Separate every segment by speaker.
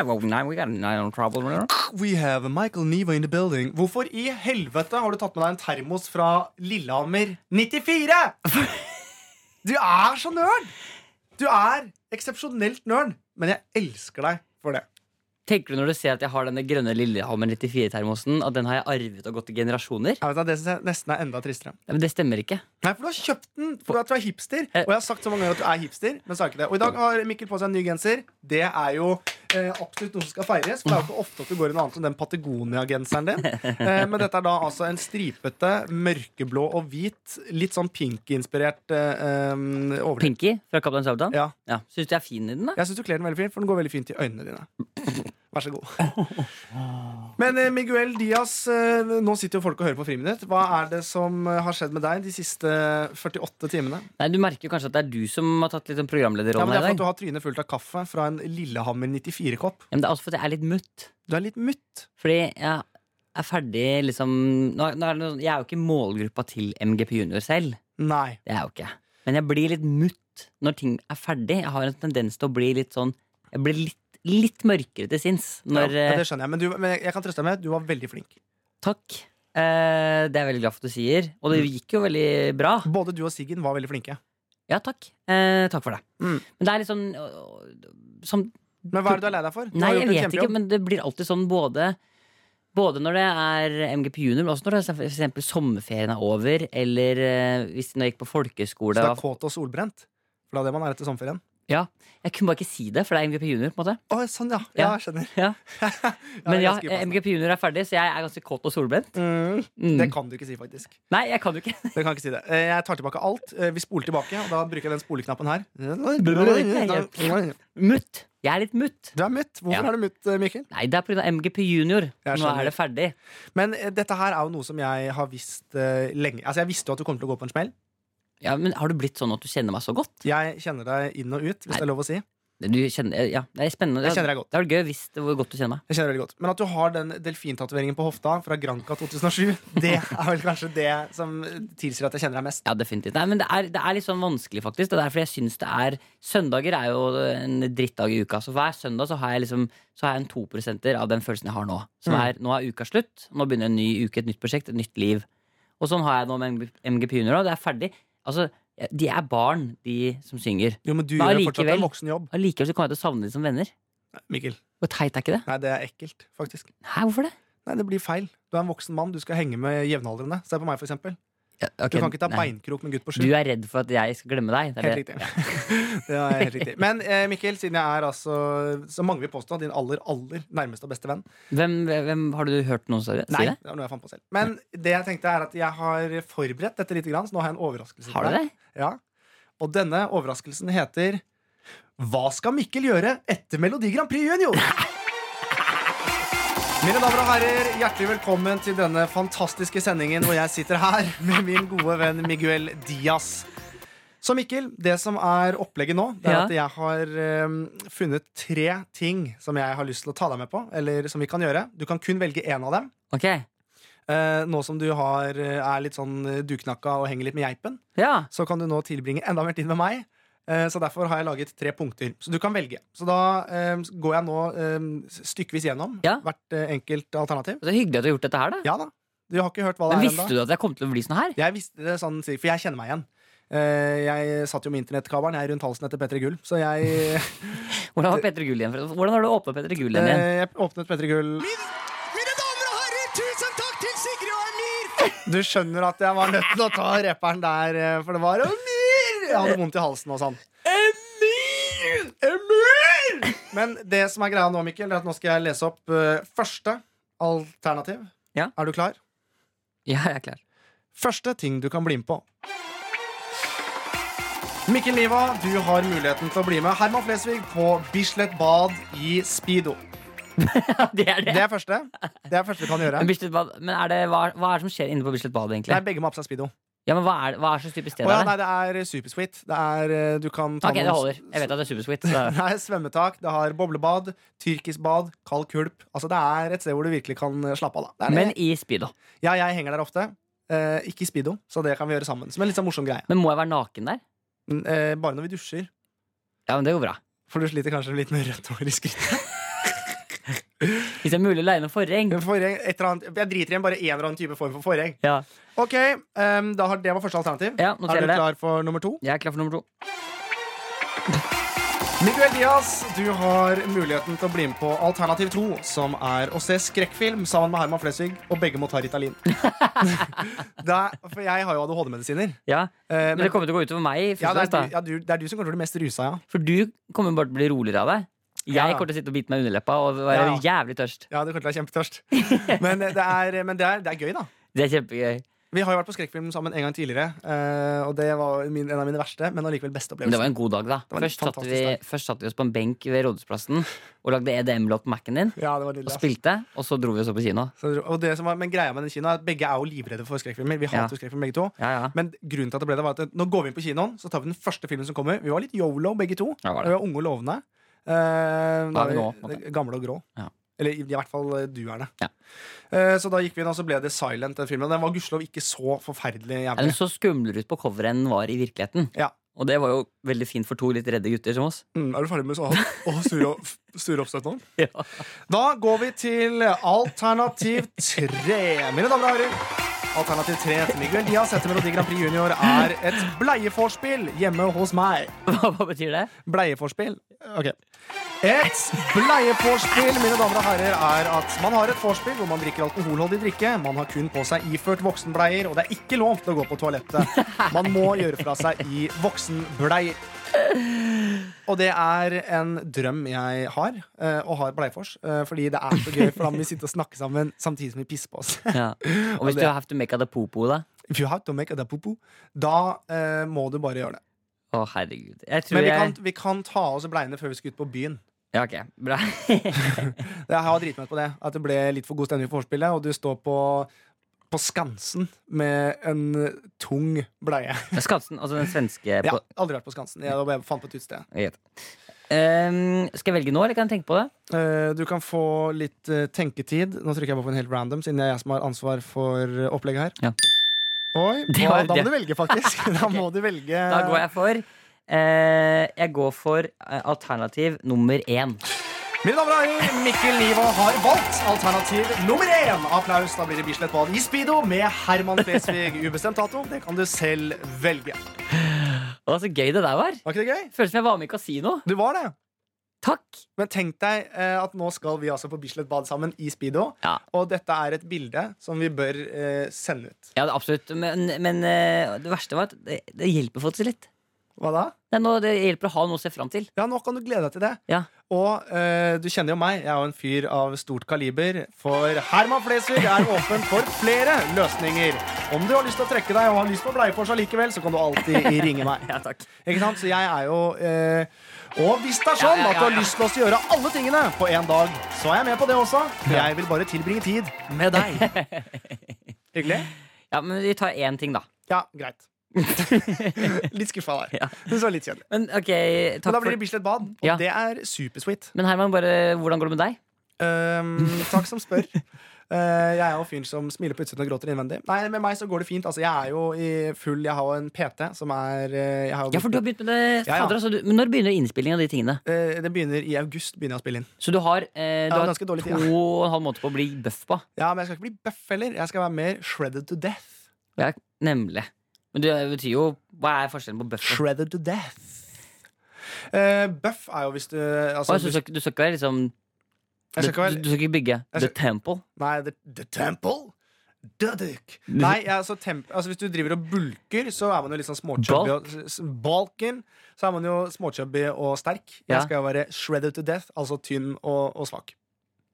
Speaker 1: oh nine, we got a nine on trouble.
Speaker 2: We have Michael Niva in the building. Hvorfor i helvete har du tatt med deg en termos fra Lillehammer 94? Du er så nørn! Du er eksepsjonelt nørn, men jeg elsker deg for det.
Speaker 1: Tenker du når du ser at jeg har denne grønne Lillehammer 94-termosen, at den har jeg arvet og gått i generasjoner?
Speaker 2: Jeg vet, at det synes jeg nesten er enda tristere.
Speaker 1: Nei, Men det stemmer ikke.
Speaker 2: Nei, for du har kjøpt den fordi at du er hipster.
Speaker 1: Eh.
Speaker 2: Og jeg har sagt så mange ganger at du er hipster, men sa ikke det. Og i dag har Mikkel på seg en ny genser. Det er jo eh, absolutt noe som skal feires. For det er jo ikke ofte at du går i noe annet enn den Patagonia-genseren din. Eh, men dette er da altså en stripete, mørkeblå og hvit, litt sånn pink-inspirert eh, um, overdel.
Speaker 1: Pinky fra Kaptein Sabeltann?
Speaker 2: Ja.
Speaker 1: Ja. Syns du jeg er fin i den, da?
Speaker 2: Jeg syns du kler den veldig fint, for den går veldig fint i øynene dine. Vær så god. Men eh, Miguel Diaz, eh, nå sitter jo folk og hører på Friminutt. Hva er det som eh, har skjedd med deg de siste 48 timene?
Speaker 1: Nei, Du merker jo kanskje at det er du som har tatt litt den
Speaker 2: Ja, men
Speaker 1: programlederrollen
Speaker 2: Det
Speaker 1: her
Speaker 2: er for
Speaker 1: i
Speaker 2: at
Speaker 1: dag.
Speaker 2: du har trynet fullt av kaffe fra en Lillehammer 94-kopp.
Speaker 1: Ja, men det er også fordi jeg er litt mutt.
Speaker 2: Du er litt mutt.
Speaker 1: Fordi jeg er ferdig liksom nå, nå er det noe, sånn- Jeg er jo ikke i målgruppa til MGP Junior selv.
Speaker 2: Nei.
Speaker 1: Det er jeg jo ikke. Men jeg blir litt mutt når ting er ferdig. Jeg har en tendens til å bli litt sånn Jeg blir litt, litt mørkere til sinns når
Speaker 2: ja,
Speaker 1: eh,
Speaker 2: det skjønner jeg, men, du, men jeg kan trøste deg med at du var veldig flink.
Speaker 1: Takk. Eh, det er jeg veldig glad for at du sier. Og
Speaker 2: Mm.
Speaker 1: det gikk jo veldig bra.
Speaker 2: Både du og Siggen var veldig flinke.
Speaker 1: Ja, takk. Eh, takk for det.
Speaker 2: Mm.
Speaker 1: Men det er litt sånn øh, som,
Speaker 2: Men hva er det du er lei deg for? Du
Speaker 1: Nei,
Speaker 2: har
Speaker 1: jeg
Speaker 2: gjort en
Speaker 1: vet ikke,
Speaker 2: kjempejobb.
Speaker 1: men det blir alltid sånn både både når det er MGP junior, men også når det er for eksempel sommerferien er over, eller eh, hvis når jeg gikk på
Speaker 2: Så
Speaker 1: folkeskole
Speaker 2: du er kåt og solbrent? For det er det man er etter sommerferien.
Speaker 1: ja, Jeg kunne bare ikke si det, for det er MGP junior. på en måte
Speaker 2: Å, sånn, ja. Ja,
Speaker 1: Ja.
Speaker 2: jeg skjønner.
Speaker 1: ja.
Speaker 2: Ja,
Speaker 1: Men
Speaker 2: det er
Speaker 1: ja, eh,
Speaker 2: ganske upassende.
Speaker 1: MGP junior er ferdig, så jeg er ganske kåt og solbrent.
Speaker 2: Mm,
Speaker 1: Mm.
Speaker 2: det kan du ikke si, faktisk.
Speaker 1: Nei, jeg kan jo ikke.
Speaker 2: Du kan ikke si det. Eh, Jeg tar tilbake alt. Eh, Vi spoler tilbake, og da bruker jeg den spoleknappen her. Du
Speaker 1: Mutt. Jeg er litt mutt.
Speaker 2: er mutt. Hvorfor
Speaker 1: Ja.
Speaker 2: er du mutt, eh, Mikkel?
Speaker 1: Nei, det er pga. MGP junior.
Speaker 2: Jeg
Speaker 1: Nå
Speaker 2: skjønner.
Speaker 1: er det ferdig.
Speaker 2: Men eh, dette her er jo noe som jeg har visst eh, lenge. Altså, Jeg visste jo at du kom til å gå på en smell.
Speaker 1: Ja, men Har du blitt sånn at du kjenner meg så godt?
Speaker 2: Jeg kjenner deg inn og ut, hvis det er lov å si.
Speaker 1: Du kjenner, ja, det er spennende
Speaker 2: Jeg kjenner deg godt.
Speaker 1: Det er vel gøy hvis det hvor godt du kjenner meg.
Speaker 2: Jeg kjenner veldig godt Men at du har den delfintatoveringen på hofta fra Granca 2007, det er vel kanskje det som tilsier at jeg kjenner deg mest.
Speaker 1: Ja, definitivt. Nei, men det er, det er litt sånn vanskelig, faktisk. Det er derfor jeg syns det er Søndager er jo en drittdag i uka. Så hver søndag så har jeg liksom Så har jeg en 2 av den følelsen jeg har nå. Som
Speaker 2: Mm.
Speaker 1: er nå er uka slutt, nå begynner en ny uke, et nytt prosjekt, et nytt liv. Og sånn har jeg nå med MGP Junior. og Det er ferdig. Altså, de er barn, de som synger.
Speaker 2: Jo, men du
Speaker 1: Men
Speaker 2: gjør fortsatt en
Speaker 1: allikevel-
Speaker 2: voksen jobb.
Speaker 1: Allikevel så kommer jeg til å savne dem som venner.
Speaker 2: Mikkel.
Speaker 1: Hvor teit er ikke det?
Speaker 2: Nei, det er ekkelt, faktisk.
Speaker 1: Hæ, hvorfor det?
Speaker 2: Nei, det blir feil. Du er en voksen mann, du skal henge med jevnaldrende. Se på meg, for eksempel.
Speaker 1: Ja,
Speaker 2: Du
Speaker 1: ok,
Speaker 2: kan ikke ta
Speaker 1: nei.
Speaker 2: beinkrok med en gutt på sju.
Speaker 1: Du er redd for at jeg skal glemme deg. Det er
Speaker 2: Helt
Speaker 1: det.
Speaker 2: riktig. Det er helt riktig. Men eh, Mikkel, siden jeg er altså, så mange vil påstå, din aller, aller nærmeste og beste venn
Speaker 1: Hvem, hvem Har du hørt noen si det?
Speaker 2: Nei, det var noe jeg fant på selv. Men det jeg tenkte er at jeg har forberedt dette litt, så nå har jeg en overraskelse. til
Speaker 1: Har du det?
Speaker 2: deg. Ja. Og denne overraskelsen heter Hva skal Mikkel gjøre etter Melodi Grand Prix Junior? Mine damer og herrer, hjertelig velkommen til denne fantastiske sendingen hvor jeg sitter her med min gode venn Miguel Diaz. Så Mikkel, det som er opplegget nå, det er
Speaker 1: Ja.
Speaker 2: at jeg har eh, funnet tre ting som jeg har lyst til å ta deg med på, eller som vi kan gjøre. Du kan kun velge én av dem.
Speaker 1: Ok,
Speaker 2: Eh, nå som du har, eh, er litt sånn eh, duknakka og henger litt med geipen,
Speaker 1: ja
Speaker 2: så kan du nå tilbringe enda mer tid med meg. Eh, så derfor har jeg laget tre punkter. Så du kan velge. Så da eh, går jeg nå eh, stykkevis gjennom
Speaker 1: Ja. hvert
Speaker 2: hvert eh, enkelt alternativ.
Speaker 1: Så hyggelig at du har gjort dette her, da.
Speaker 2: Ja da. Du har ikke hørt hva det
Speaker 1: Men
Speaker 2: er
Speaker 1: visste
Speaker 2: ennå?
Speaker 1: du at jeg kom til å bli sånn her?
Speaker 2: Jeg visste det sånn, for jeg kjenner meg igjen. Eh, jeg satt jo med internettkabelen Jeg er rundt halsen etter Petter Gull, så jeg,
Speaker 1: Hvordan var Petter Gull igjen? for- Hvordan har du åpna Petter Gull igjen? igjen?
Speaker 2: eh, jeg åpnet Petter Gull.
Speaker 3: Mine damer og herrer, tusen takk til Sigrid og Emir!
Speaker 2: Du skjønner at jeg var nødt til å ta rapperen der, eh, for det var Emir! Jeg hadde vondt i halsen og sånn. Emir! Emir! Men det som er greia nå, Mikkel, er at nå skal jeg lese opp eh, første alternativ.
Speaker 1: Ja.
Speaker 2: Er du klar?
Speaker 1: Ja, jeg er klar.
Speaker 2: Første ting du kan bli med på. Mikkel Niva, du har muligheten til å bli med Herman Flesvig på Bislett Bad i Speedo.
Speaker 1: det er
Speaker 2: Det
Speaker 1: det.
Speaker 2: er første. Det er første du kan gjøre.
Speaker 1: Men, Bislett Bad, men er det, hva, hva er det som skjer inne på Bislett Bad, egentlig?
Speaker 2: Det er begge med på seg Speedo.
Speaker 1: ja, men hva er, hva er så type sted
Speaker 2: Å ja,
Speaker 1: er
Speaker 2: nei,
Speaker 1: det?
Speaker 2: det er supersweet. Det er eh, Du kan ta
Speaker 1: Ok, det
Speaker 2: noen-
Speaker 1: holder. Jeg vet at det er supersweet. Så.
Speaker 2: Det er svømmetak, det har boblebad, tyrkisk bad, kald kulp. Altså Det er et sted hvor du virkelig kan eh, slappe av. da det er
Speaker 1: Men
Speaker 2: det.
Speaker 1: i speedo.
Speaker 2: Ja, jeg henger der ofte. Eh, ikke i speedo, så det kan vi gjøre sammen. Som en litt sånn morsom greie.
Speaker 1: Men må jeg være naken der?
Speaker 2: Mm, Eh, bare når vi dusjer.
Speaker 1: Ja, men det går bra.
Speaker 2: For du sliter kanskje litt med rødt hår i skrittet.
Speaker 1: Hvis det er mulig å leie noe forheng.
Speaker 2: Forheng, et eller annet, jeg driter igjen bare en eller annen type form for forheng.
Speaker 1: Ja.
Speaker 2: Ok, ehm, da har, Det var første alternativ.
Speaker 1: Ja,
Speaker 2: er
Speaker 1: noterer
Speaker 2: du
Speaker 1: det.
Speaker 2: klar for nummer to?
Speaker 1: Jeg er klar for nummer to.
Speaker 2: Miguel Diaz, du har muligheten til å bli med på alternativ to, som er å se skrekkfilm sammen med Herman Flesvig, og begge må ta Ritalin. Da- for jeg har jo ADHD-medisiner.
Speaker 1: Ja.
Speaker 2: eh,
Speaker 1: Men det kommer til å gå utover meg. først
Speaker 2: ja,
Speaker 1: og
Speaker 2: det, er, du-
Speaker 1: fremst, da.
Speaker 2: ja, du, det er du som kommer til å bli mest rusa, ja.
Speaker 1: For du kommer bare til å bli roligere av det.
Speaker 2: Ja, ja.
Speaker 1: Jeg kommer til å sitte og bite meg i underleppa og være
Speaker 2: Ja,
Speaker 1: jævlig tørst.
Speaker 2: Ja, Du kommer til å være kjempetørst. Men, eh, det er, men det, er, det er gøy, da.
Speaker 1: Det er kjempegøy.
Speaker 2: Vi har jo vært på skrekkfilm sammen en gang tidligere, eh, og det var min, en av mine verste, men allikevel beste
Speaker 1: Men det
Speaker 2: opplevelser.
Speaker 1: var en god dag, da.
Speaker 2: var en
Speaker 1: Først satte,
Speaker 2: fantastisk
Speaker 1: vi,
Speaker 2: dag.
Speaker 1: først satte vi oss på en benk ved Rådhusplassen og lagde EDM-låt på Mac-en din.
Speaker 2: Ja, det var
Speaker 1: Og
Speaker 2: nydelig, ass.
Speaker 1: spilte, og så dro vi oss opp på kino.
Speaker 2: Så- og det som var, men greia med den kinoen er at begge er jo livredde for skrekkfilmer. Vi hater jo skrekkfilm begge to.
Speaker 1: Ja, ja.
Speaker 2: Men grunnen til at det ble det var at nå går vi inn på kinoen, så tar vi den første filmen som kommer. Vi var litt yolo begge to.
Speaker 1: Ja, var det.
Speaker 2: Vi var unge og lovende. Eh,
Speaker 1: Da er vi
Speaker 2: da
Speaker 1: nå,
Speaker 2: er
Speaker 1: på en
Speaker 2: vi gamle og grå.
Speaker 1: Ja.
Speaker 2: Eller i, i hvert fall eh, du er det.
Speaker 1: Ja.
Speaker 2: Eh, så da gikk vi inn, og så ble det Silent, den filmen. Den var gudskjelov ikke så forferdelig
Speaker 1: Ja, Den
Speaker 2: jævlig.
Speaker 1: så skumlere ut på coveret enn den var i virkeligheten.
Speaker 2: Ja.
Speaker 1: Og det var jo veldig fint for to litt redde gutter som oss.
Speaker 2: Mm, er du ferdig med sånn? Å, sure, opp- sure oppstøt nå?
Speaker 1: Ja.
Speaker 2: Da går vi til alternativ tre. Mine damer og herrer. Alternativ tre til Miguel Diaz etter Melodi Grand Prix Junior er et bleieforspill hjemme hos meg.
Speaker 1: Hva, hva betyr det?
Speaker 2: Bleieforspill. Ok. Et bleieforspill, mine damer og herrer, er at man har et vorspiel hvor man drikker alkoholholdig drikke. Man har kun på seg iført voksenbleier, og det er ikke lov til å gå på toalettet. Man må gjøre fra seg i voksenbleier. Og det er en drøm jeg har, eh, og har bleiefors. eh, Fordi det er så gøy, for da må vi sitte og snakke sammen samtidig som vi pisser på oss.
Speaker 1: Ja. Og hvis
Speaker 2: det-
Speaker 1: du har hatt make of the popo, da?
Speaker 2: If you have to make a popo, da eh, må du bare gjøre det.
Speaker 1: Å, herregud. Jeg tror
Speaker 2: Men vi
Speaker 1: jeg
Speaker 2: kan, vi kan ta av oss bleiene før vi skal ut på byen.
Speaker 1: Ja, ok. Bra.
Speaker 2: Jeg har driti meg ut på det. At det ble litt for god stemning for forspillet, og du står på på Skansen med en tung bleie.
Speaker 1: Skansen, altså den svenske
Speaker 2: Jeg
Speaker 1: på...
Speaker 2: har aldri vært på Skansen. Jeg bare fant på et utsted.
Speaker 1: Greit. Ehm, skal jeg velge nå, eller kan jeg tenke på det?
Speaker 2: Eh, Du kan få litt eh, tenketid. Nå trykker jeg bare på en helt random, siden det er jeg som har ansvar for eh, opplegget her.
Speaker 1: Ja.
Speaker 2: Oi,
Speaker 1: Det
Speaker 2: da,
Speaker 1: var
Speaker 2: da må
Speaker 1: det.
Speaker 2: du velge, faktisk. Da må du velge
Speaker 1: Da går jeg for eh, Jeg går for eh, alternativ nummer én.
Speaker 2: Mine damer og herrer, Mikkel Niva har valgt alternativ nummer én. Applaus. Da blir det Bislett Bad i Speedo med Herman Flesvig. Ubestemt dato. Det kan du selv velge.
Speaker 1: Å, så gøy det der var.
Speaker 2: Var ikke det gøy?
Speaker 1: Føles som jeg var med i kasino.
Speaker 2: Du var det.
Speaker 1: Takk.
Speaker 2: Men tenk deg eh, at nå skal vi altså på Bislett bad sammen i Speedo.
Speaker 1: Ja.
Speaker 2: Og dette er et bilde som vi bør eh, sende ut.
Speaker 1: Ja, det- absolutt. Men, men eh, det verste var at det, det hjelper faktisk litt.
Speaker 2: Hva da?
Speaker 1: Det, er noe, det hjelper å ha noe å se fram til.
Speaker 2: Ja, nå kan du glede deg til det.
Speaker 1: Ja.
Speaker 2: Og eh, du kjenner jo meg. Jeg er jo en fyr av stort kaliber. For Herman Flesvig er åpen for flere løsninger. Om du har lyst til å trekke deg og har lyst på bleiefors allikevel, så kan du alltid ringe meg.
Speaker 1: Ja, takk.
Speaker 2: Ikke sant? Så jeg er jo eh, Og hvis det er sånn
Speaker 1: Ja, ja, ja,
Speaker 2: at du har
Speaker 1: ja.
Speaker 2: lyst til oss å gjøre alle tingene på én dag, så er jeg med på det også. Jeg vil bare tilbringe tid med deg. Hyggelig?
Speaker 1: Ja, men vi tar én ting, da.
Speaker 2: Ja, greit. litt skuffa der.
Speaker 1: Ja.
Speaker 2: Men så litt kjedelig.
Speaker 1: Men ok,
Speaker 2: Men
Speaker 1: takk
Speaker 2: da blir det
Speaker 1: for
Speaker 2: Bislett bad, og
Speaker 1: Ja.
Speaker 2: det er supersweet.
Speaker 1: Men Herman, bare, hvordan går det med deg?
Speaker 2: Ehm, takk som spør. Eh, jeg er jo fyren som smiler på utsiden og gråter innvendig. Nei, Med meg så går det fint. Altså, jeg er jo i full Jeg har jo en PT som er eh, jeg har jo
Speaker 1: Ja, for du har begynt med det
Speaker 2: Ja, ja.
Speaker 1: fader, altså, du, Men når begynner innspillingen av de tingene?
Speaker 2: Eh, Det begynner i august. begynner jeg å spille inn
Speaker 1: Så du har, eh,
Speaker 2: Ja,
Speaker 1: du har
Speaker 2: ganske
Speaker 1: to
Speaker 2: dårlig tid, ja.
Speaker 1: og en halv måned på å bli bøff på.
Speaker 2: Ja, Men jeg skal ikke bli bøff heller. Jeg skal være mer shredded to death.
Speaker 1: Ja, nemlig. Men det betyr jo Hva er forskjellen på bøff og
Speaker 2: Shredded to death. Eh, bøff er jo hvis du altså,
Speaker 1: Å, så Du skal ikke- du skal ikke være liksom
Speaker 2: jeg skal ikke
Speaker 1: du,
Speaker 2: være
Speaker 1: du skal ikke bygge
Speaker 2: Jeg
Speaker 1: The
Speaker 2: skal-
Speaker 1: Temple?
Speaker 2: Nei, The, the Temple. Duduk. Nei, ja, altså, temp altså Hvis du driver og bulker, så er man jo litt sånn småchubby. og- s- s- Balken. Så er man jo småchubby og sterk. Jeg
Speaker 1: Ja.
Speaker 2: skal jo være shredded to death, altså tynn og, og svak.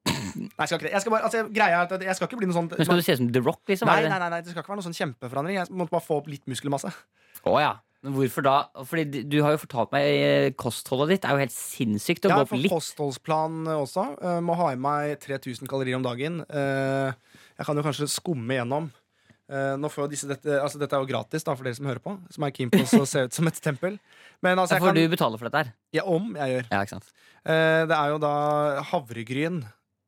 Speaker 2: Nei, jeg skal ikke det. Jeg skal bare, altså, greia er at jeg skal ikke bli noe sånn
Speaker 1: Men skal du se ut som The Rock, liksom?
Speaker 2: nei,
Speaker 1: er det det?
Speaker 2: nei, nei, nei, det skal ikke være noen sånn kjempeforandring. Jeg måtte bare få opp litt muskelmasse.
Speaker 1: Å ja. Men hvorfor da? Fordi du- du har jo fortalt meg eh, kostholdet ditt er jo helt sinnssykt å
Speaker 2: Jeg
Speaker 1: gå
Speaker 2: har
Speaker 1: opp
Speaker 2: fått
Speaker 1: litt.
Speaker 2: kostholdsplan også. Eh, må ha i meg 3000 kalorier om dagen. Eh, jeg kan jo kanskje skumme gjennom. Eh, nå får jo disse, dette, altså dette er jo gratis da, for dere som hører på, som er keen på å se ut som et tempel. Men altså,
Speaker 1: Ja,
Speaker 2: jeg
Speaker 1: for
Speaker 2: kan,
Speaker 1: du betaler for dette her.
Speaker 2: ja, om jeg gjør.
Speaker 1: Ja, ikke sant?
Speaker 2: Eh, det er jo da havregryn.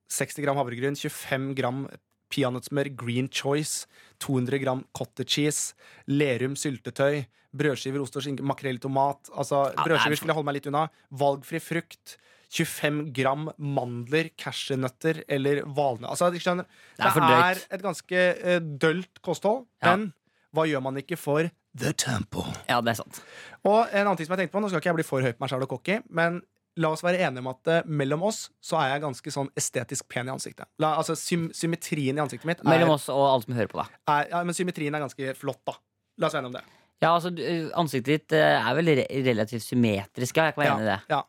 Speaker 2: 60 gram havregryn, 25 gram peanøttsmør, green choice, 200 gram cottage cheese, Lerum syltetøy, brødskiver, ost og skinke, makrell i tomat altså,
Speaker 1: Ja, det er
Speaker 2: Brødskiver
Speaker 1: for-
Speaker 2: skulle jeg holde meg litt unna. Valgfri frukt. 25 gram mandler, cashewnøtter eller valnøtter. Altså, jeg skjønner,
Speaker 1: Det er for
Speaker 2: det
Speaker 1: drøyt.
Speaker 2: er et ganske eh, dølt kosthold,
Speaker 1: Ja.
Speaker 2: men hva gjør man ikke for the temple?
Speaker 1: Ja, det er sant.
Speaker 2: Og en annen ting som jeg tenkte på, Nå skal ikke jeg bli for høy på meg selv og cocky, men la oss være enige om at eh, mellom oss så er jeg ganske sånn estetisk pen i ansiktet. La, altså sym Symmetrien i ansiktet mitt er,
Speaker 1: Mellom oss og alle som hører på, da.
Speaker 2: er, ja, men symmetrien er ganske flott, da. La oss være enige om det.
Speaker 1: Ja, altså, du- ansiktet ditt eh, er vel re relativt symmetrisk, ja. Jeg kan være enig i det.
Speaker 2: Ja.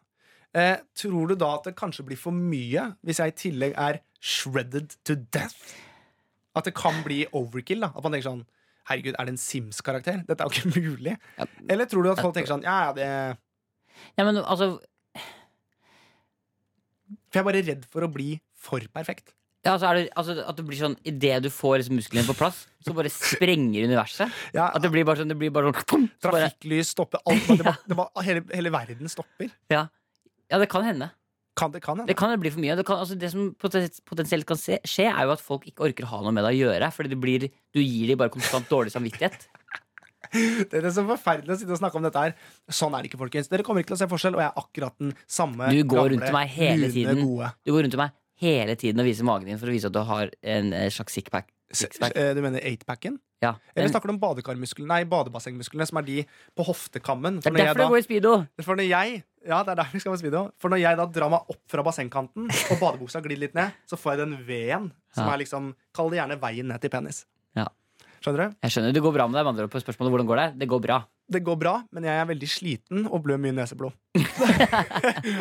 Speaker 2: Eh, tror du da at det kanskje blir for mye hvis jeg i tillegg er shredded to death? At det kan bli overkill? da At man tenker sånn Herregud, er det en Sims-karakter? Dette er jo ikke mulig.
Speaker 1: Ja.
Speaker 2: Eller tror du at folk tenker sånn Ja, ja, det
Speaker 1: Ja, men altså
Speaker 2: For jeg er bare redd for å bli for perfekt.
Speaker 1: Ja, så er det, altså, at det blir sånn Idet du får liksom, musklene på plass, så bare sprenger universet.
Speaker 2: Ja,
Speaker 1: At det blir bare sånn, det blir bare sånn så bare,
Speaker 2: Trafikklys stopper alt. Det var, det var, hele, hele verden stopper.
Speaker 1: ja. ja, det kan hende.
Speaker 2: Kan det kan
Speaker 1: Det
Speaker 2: hende.
Speaker 1: kan bli for mye. Det, kan, altså, det som poten- potensielt kan se, skje, er jo at folk ikke orker å ha noe med deg å gjøre. Fordi det blir, du gir dem bare konstant dårlig samvittighet.
Speaker 2: Det er så forferdelig å sitte og snakke om dette her. Sånn er det ikke, folkens. Dere kommer ikke til å se forskjell, og jeg er akkurat den samme
Speaker 1: Du går
Speaker 2: gamle,
Speaker 1: rundt til meg hele
Speaker 2: lune,
Speaker 1: tiden.
Speaker 2: Gode.
Speaker 1: Du går rundt til meg hele tiden og viser magen din for å vise at du har en eh, slags sixpack. Sixpack.
Speaker 2: Eh, Du mener eightpacken?
Speaker 1: Ja.
Speaker 2: Eller
Speaker 1: Den,
Speaker 2: snakker du om badekarmuskelen? Nei, badebassengmusklene, som er de på hoftekammen.
Speaker 1: det
Speaker 2: For
Speaker 1: er
Speaker 2: når jeg
Speaker 1: derfor du
Speaker 2: da
Speaker 1: går i speedo!
Speaker 2: for når jeg, ja, det er der vi skal med speedo. For når jeg da drar meg opp fra bassengkanten, og badebuksa glir litt ned, så får jeg den V-en, som
Speaker 1: Ja.
Speaker 2: er liksom Kall det gjerne veien ned til penis.
Speaker 1: Ja.
Speaker 2: Skjønner du?
Speaker 1: Jeg skjønner, Det går bra med deg. med andre ord, på spørsmålet hvordan går det. Det går bra.
Speaker 2: Det går bra, men jeg er veldig sliten og blør mye neseblod.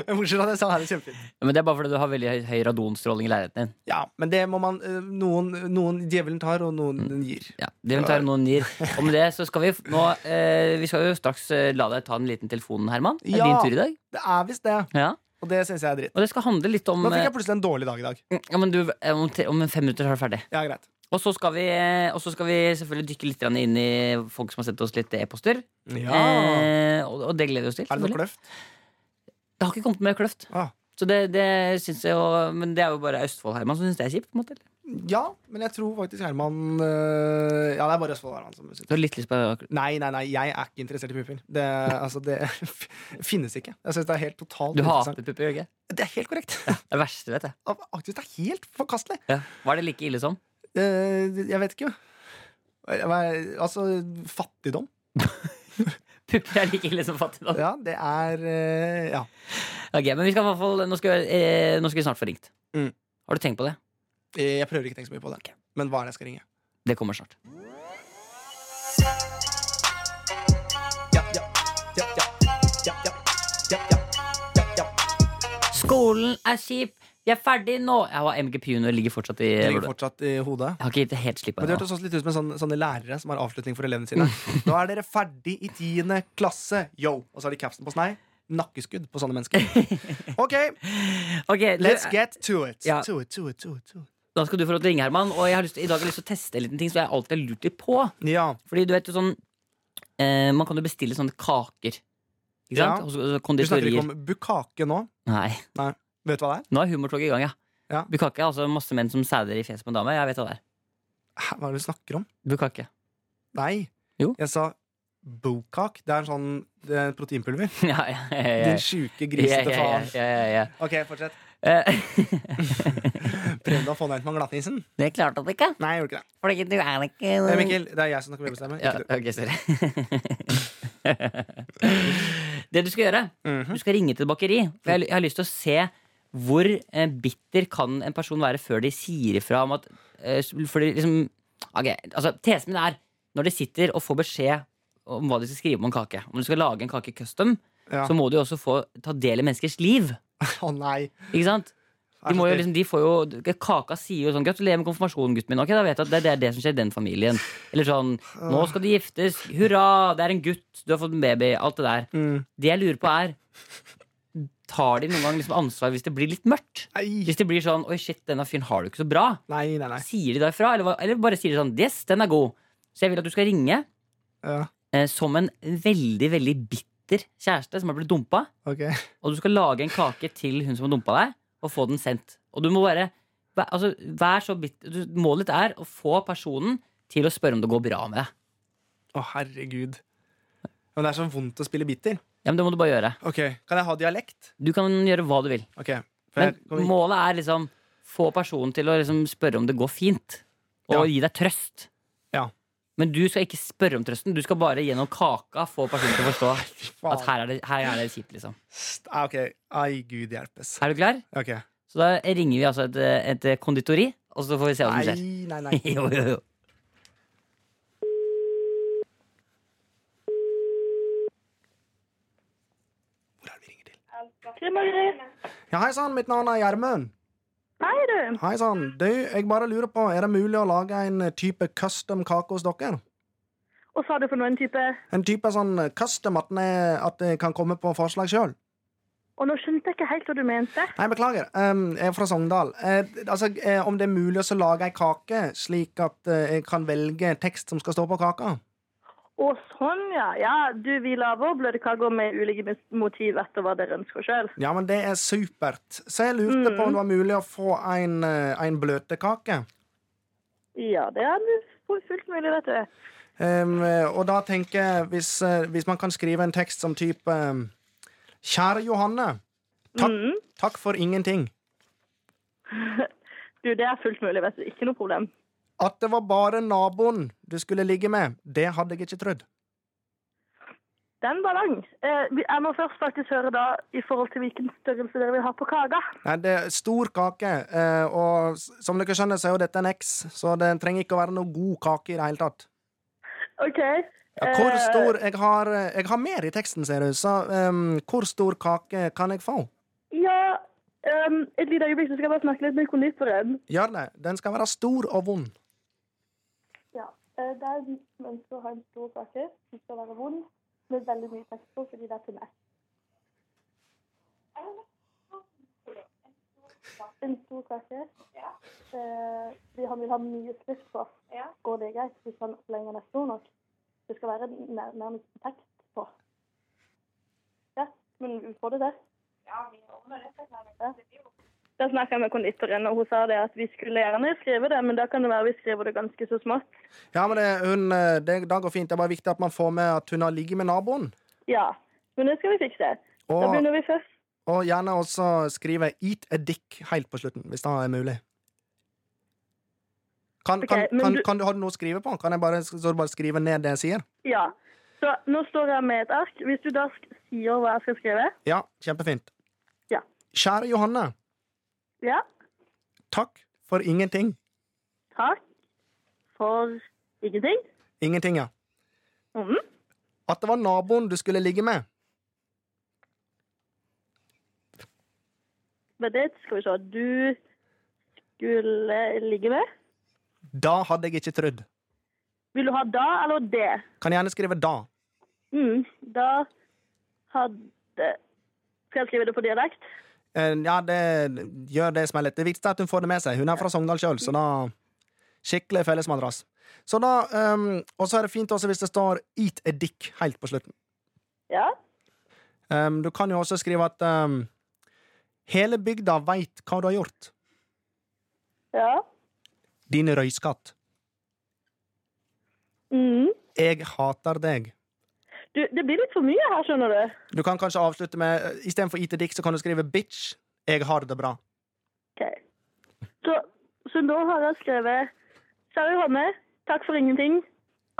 Speaker 2: Men Bortsett fra det, så er det kjempefint.
Speaker 1: Men det er bare fordi du har veldig høy, høy radonstråling i leiligheten din.
Speaker 2: Ja, men det må man eh, Noen, noen djevelen tar, og noen
Speaker 1: Mm.
Speaker 2: den gir.
Speaker 1: Ja, det vil ta noen gir. Og med det så skal vi f- nå eh, Vi skal jo straks eh, la deg ta en liten telefon, Herman. Det er
Speaker 2: Ja.
Speaker 1: din tur i dag.
Speaker 2: Det er visst det,
Speaker 1: Ja.
Speaker 2: og det syns jeg er dritt.
Speaker 1: Og det skal handle litt om
Speaker 2: Nå fikk
Speaker 1: eh,
Speaker 2: jeg plutselig en dårlig dag i dag.
Speaker 1: ja, men du, eh, om, te- om fem minutter så er du ferdig.
Speaker 2: Ja, greit.
Speaker 1: Og så skal vi, eh, og så skal vi selvfølgelig dykke litt grann inn i folk som har sendt oss litt e-poster.
Speaker 2: Ja.
Speaker 1: Eh, og, og det gleder vi oss til.
Speaker 2: Er det noe
Speaker 1: selvfølgelig.
Speaker 2: kløft?
Speaker 1: Det har ikke kommet mer kløft.
Speaker 2: Ah.
Speaker 1: Så det, det syns jeg jo Men det er jo bare Østfold, Herman, som syns det er kjipt. på en måte eller?
Speaker 2: Ja, men jeg tror faktisk Herman eh, Ja, det er bare Østfold Herman som syns
Speaker 1: Du har litt lyst på
Speaker 2: Nei, nei, nei, jeg er ikke interessert i pupper. Det, altså, det finnes ikke. Jeg synes det er helt totalt
Speaker 1: Du hater
Speaker 2: uinteressant.
Speaker 1: pupper, gjør du ikke?
Speaker 2: Det er helt korrekt.
Speaker 1: Det er det verste, vet jeg.
Speaker 2: Faktisk, det er helt forkastelig.
Speaker 1: Ja. Var det like ille som?
Speaker 2: Eh, jeg vet ikke. Jeg var- Altså, fattigdom.
Speaker 1: Pupper er like ille som fattigdom.
Speaker 2: Ja, det er eh, Ja.
Speaker 1: Ok, men vi skal i hvert fall Nå skal, eh, nå skal vi snart få ringt.
Speaker 2: Mm.
Speaker 1: Har du tenkt på det?
Speaker 2: Eh, Jeg prøver ikke å tenke så mye på det. Men hva er det jeg skal ringe?
Speaker 1: Det kommer snart.
Speaker 2: Ja, ja, ja, ja, ja, ja, ja, ja, ja, ja.
Speaker 1: Skolen er kjip! Vi er ferdig nå! Jeg har MGP junior ligger fortsatt i
Speaker 2: Det ligger fortsatt i hodet.
Speaker 1: Jeg har ikke gitt det helt slipp på
Speaker 2: Men det
Speaker 1: det.
Speaker 2: hørtes også litt ut som en sånn, sånne lærere som har avslutning for elevene sine. Nå er dere ferdig i tiende klasse, yo! Og så har de capsen på snei. Nakkeskudd på sånne mennesker. Ok,
Speaker 1: Ok, du,
Speaker 2: let's get to it.
Speaker 1: Ja.
Speaker 2: To it, to it, to it, to it.
Speaker 1: Da skal du få lov til å ringe, Herman. Og jeg har lyst til, i dag har jeg lyst til å teste en liten ting som jeg alltid har lurt litt på.
Speaker 2: Ja.
Speaker 1: Fordi du vet jo sånn eh, Man kan jo bestille sånne kaker. Ikke
Speaker 2: Ja.
Speaker 1: sant? Hos- hos
Speaker 2: Du snakker ikke
Speaker 1: Konditorier.
Speaker 2: om bukake nå.
Speaker 1: Nei.
Speaker 2: Vet du hva det er?
Speaker 1: Nå er humortoget i gang, ja.
Speaker 2: Ja.
Speaker 1: Bukake er altså masse menn som sæder i fjeset på en dame. Jeg vet hva det er.
Speaker 2: Hæ, Hva er det du snakker om?
Speaker 1: Bukake.
Speaker 2: Nei.
Speaker 1: Jo.
Speaker 2: Jeg sa bukak. Det er en sånn det er en proteinpulver.
Speaker 1: ja, ja, ja, ja.
Speaker 2: Din sjuke grisete
Speaker 1: ja,
Speaker 2: faen.
Speaker 1: ja, ja, ja,
Speaker 2: Ok, fortsett.
Speaker 1: ja. Eh,
Speaker 2: Prøvde å få deg ut med glattisen?
Speaker 1: Det klarte han ikke.
Speaker 2: Nei, jeg gjorde ikke det.
Speaker 1: Fordi du er ikke
Speaker 2: Eh, Mikkel, det er jeg som snakker med bestemme.
Speaker 1: Ja,
Speaker 2: Ikke du.
Speaker 1: ok, sorry. det du skal gjøre,
Speaker 2: Mhm.
Speaker 1: du skal ringe til et bakeri. For jeg, jeg har lyst til å se hvor eh, bitter kan en person være før de sier ifra om at eh, For de liksom Ok, altså Tesen min er når de sitter og får beskjed om hva de skal skrive om en kake. Om du skal lage en kake custom,
Speaker 2: Ja.
Speaker 1: så må du jo også få ta del i menneskers liv.
Speaker 2: Å nei.
Speaker 1: Ikke sant?
Speaker 2: Er
Speaker 1: De,
Speaker 2: så
Speaker 1: må jo
Speaker 2: snill.
Speaker 1: liksom, de får jo Kaka sier jo sånn Gratulerer med konfirmasjonen, gutten min. Ok, da vet jeg at det, det er det som skjer i den familien. Eller sånn Nå skal de giftes. Hurra, det er en gutt. Du har fått en baby. Alt det der.
Speaker 2: Mm.
Speaker 1: Det jeg lurer på, er Tar de noen gang liksom ansvar hvis det blir litt mørkt?
Speaker 2: Nei.
Speaker 1: Hvis det blir sånn Oi, shit, denne fyren har det jo ikke så bra.
Speaker 2: nei, nei, nei.
Speaker 1: Sier de da ifra? Eller, hva- eller bare sier de sånn Yes, den er god. Så jeg vil at du skal ringe
Speaker 2: Ja,
Speaker 1: eh, som en veldig, veldig bitter kjæreste som har blitt dumpa.
Speaker 2: ok.
Speaker 1: Og du skal lage en kake til hun som har dumpa deg, og få den sendt. Og du må bare vær- altså, vær så bit- du- Målet ditt er å få personen til å spørre om det går bra med deg.
Speaker 2: Å, herregud. Men det er så vondt å spille bitter.
Speaker 1: Ja, men Det må du bare gjøre.
Speaker 2: Ok, Kan jeg ha dialekt?
Speaker 1: Du kan gjøre hva du vil.
Speaker 2: Ok, for
Speaker 1: Men
Speaker 2: jeg kommer-
Speaker 1: målet er liksom få personen til å liksom spørre om det går fint,
Speaker 2: Ja.
Speaker 1: og gi deg trøst.
Speaker 2: Ja.
Speaker 1: Men du skal ikke spørre om trøsten. Du skal bare gjennom kaka få personen til å forstå
Speaker 2: faen.
Speaker 1: at her er det, her er det kjipt. liksom
Speaker 2: St- ah, Ok. Ai, gud hjelpes.
Speaker 1: Er du klar?
Speaker 2: Ok.
Speaker 1: Så da ringer vi altså et, et konditori, og så får vi se hva som skjer.
Speaker 2: Nei, nei, nei.
Speaker 1: jo, jo, jo.
Speaker 2: Hvor er det vi ringer til?
Speaker 4: Hei, Margrethe.
Speaker 2: Ja, Hei sann, mitt navn er Gjermund.
Speaker 4: Hei, du.
Speaker 2: Hei sann. Du, jeg bare lurer på, er det mulig å lage en eh, type custom kake hos dere?
Speaker 4: Og sa du for noen type
Speaker 2: En type sånn custom at, den er, at det kan komme på forslag sjøl?
Speaker 4: Og nå skjønte jeg ikke helt hva du mente.
Speaker 2: Nei, beklager. Em, jeg er fra Sogndal. Eh, altså, eh, om det er mulig å så lage ei kake, slik at eh, jeg kan velge tekst som skal stå på kaka?
Speaker 4: Å, sånn, ja. Ja, du, vi lager blødkaker med ulike mus- motiv etter hva dere ønsker sjøl.
Speaker 2: Ja, men det er supert. Så jeg lurte på om det var mulig å få en, eh, en bløtkake.
Speaker 4: Ja, det er fu- fullt mulig, vet du.
Speaker 2: Em, eh, og da tenker jeg, hvis, eh, hvis man kan skrive en tekst som type em, Kjære Johanne. Takk, takk for ingenting.
Speaker 4: Du, det er fullt mulig, vet du. Ikke noe problem.
Speaker 2: At det var bare naboen du skulle ligge med, det hadde jeg ikke trodd.
Speaker 4: Den var lang. Eh, vi- jeg må først faktisk høre da i forhold til hvilken størrelse dere vil ha på kaka.
Speaker 2: Nei, det er stor kake, eh, og s- som dere skjønner, så er jo dette en X, så det trenger ikke å være noe god kake i det hele tatt.
Speaker 4: OK.
Speaker 2: Ja, hvor
Speaker 4: eh,
Speaker 2: stor Jeg har, eh, jeg har mer i teksten, ser du, så em, hvor stor kake kan jeg få?
Speaker 4: Ja, ehm, et lite øyeblikk, så skal jeg bare snakke litt med konditoren.
Speaker 2: Gjør det. Den skal være stor og vond.
Speaker 4: Ja. eh, Det er de som ønsker å ha en stor kake, som skal være vond, med veldig mye tekst på, fordi det er til meg. En stor kake. Eh, vi- han vil ha mye skrift på. Går det greit hvis han lenger den er stor nok? Det skal være nær, nærmest tekst på. Ja, men vi får det der. Ja. Da snakket jeg med konditoren, og hun sa det at vi skulle gjerne skrive det, men da kan det være vi skriver det ganske så smått.
Speaker 2: Ja, men det, hun, eh, det, det går fint. Det er bare viktig at man får med at hun har ligget med naboen.
Speaker 4: Ja, men det skal vi fikse. Da
Speaker 2: Og,
Speaker 4: begynner vi først.
Speaker 2: og gjerne også skrive 'eat a dick' helt på slutten, hvis det er mulig. Kan, kan,
Speaker 4: Ok, men
Speaker 2: kan,
Speaker 4: du-
Speaker 2: kan du ha noe å skrive på? Kan jeg bare, så du bare skrive ned det jeg sier?
Speaker 4: Ja. Så nå står jeg med et ark. Hvis du da sk- sier hva jeg skal skrive
Speaker 2: Ja, kjempefint.
Speaker 4: Ja.
Speaker 2: Kjære Johanne,
Speaker 4: Ja,
Speaker 2: takk for ingenting.
Speaker 4: takk for ingenting.
Speaker 2: Ingenting, ja.
Speaker 4: Mhm.
Speaker 2: At det var naboen du skulle ligge med.
Speaker 4: Men det skal vi se. Du skulle ligge med.
Speaker 2: Da hadde jeg ikke trodd.
Speaker 4: Vil du ha da eller det?
Speaker 2: Kan gjerne skrive da.
Speaker 4: Mm. Da hadde Skal jeg skrive det på dialekt?
Speaker 2: Eh, Ja, det gjør det som er lett. Det viktigste er at hun får det med seg. Hun er fra Sogndal sjøl, så da Skikkelig fellesmadrass. Så da, ehm, Og så er det fint også hvis det står 'eat a dick' helt på slutten.
Speaker 4: Ja.
Speaker 2: Ehm, du kan jo også skrive at ehm, 'Hele bygda veit hva du har gjort'.
Speaker 4: Ja.
Speaker 2: Din røyskatt.
Speaker 4: Mhm.
Speaker 2: Jeg hater deg.
Speaker 4: Du, det blir litt for mye her, skjønner du.
Speaker 2: Du kan kanskje avslutte med eh, Istedenfor IT Dick så kan du skrive Bitch, jeg har det bra.
Speaker 4: Ok. Så, så nå har jeg skrevet Kjære Johanne, takk for ingenting.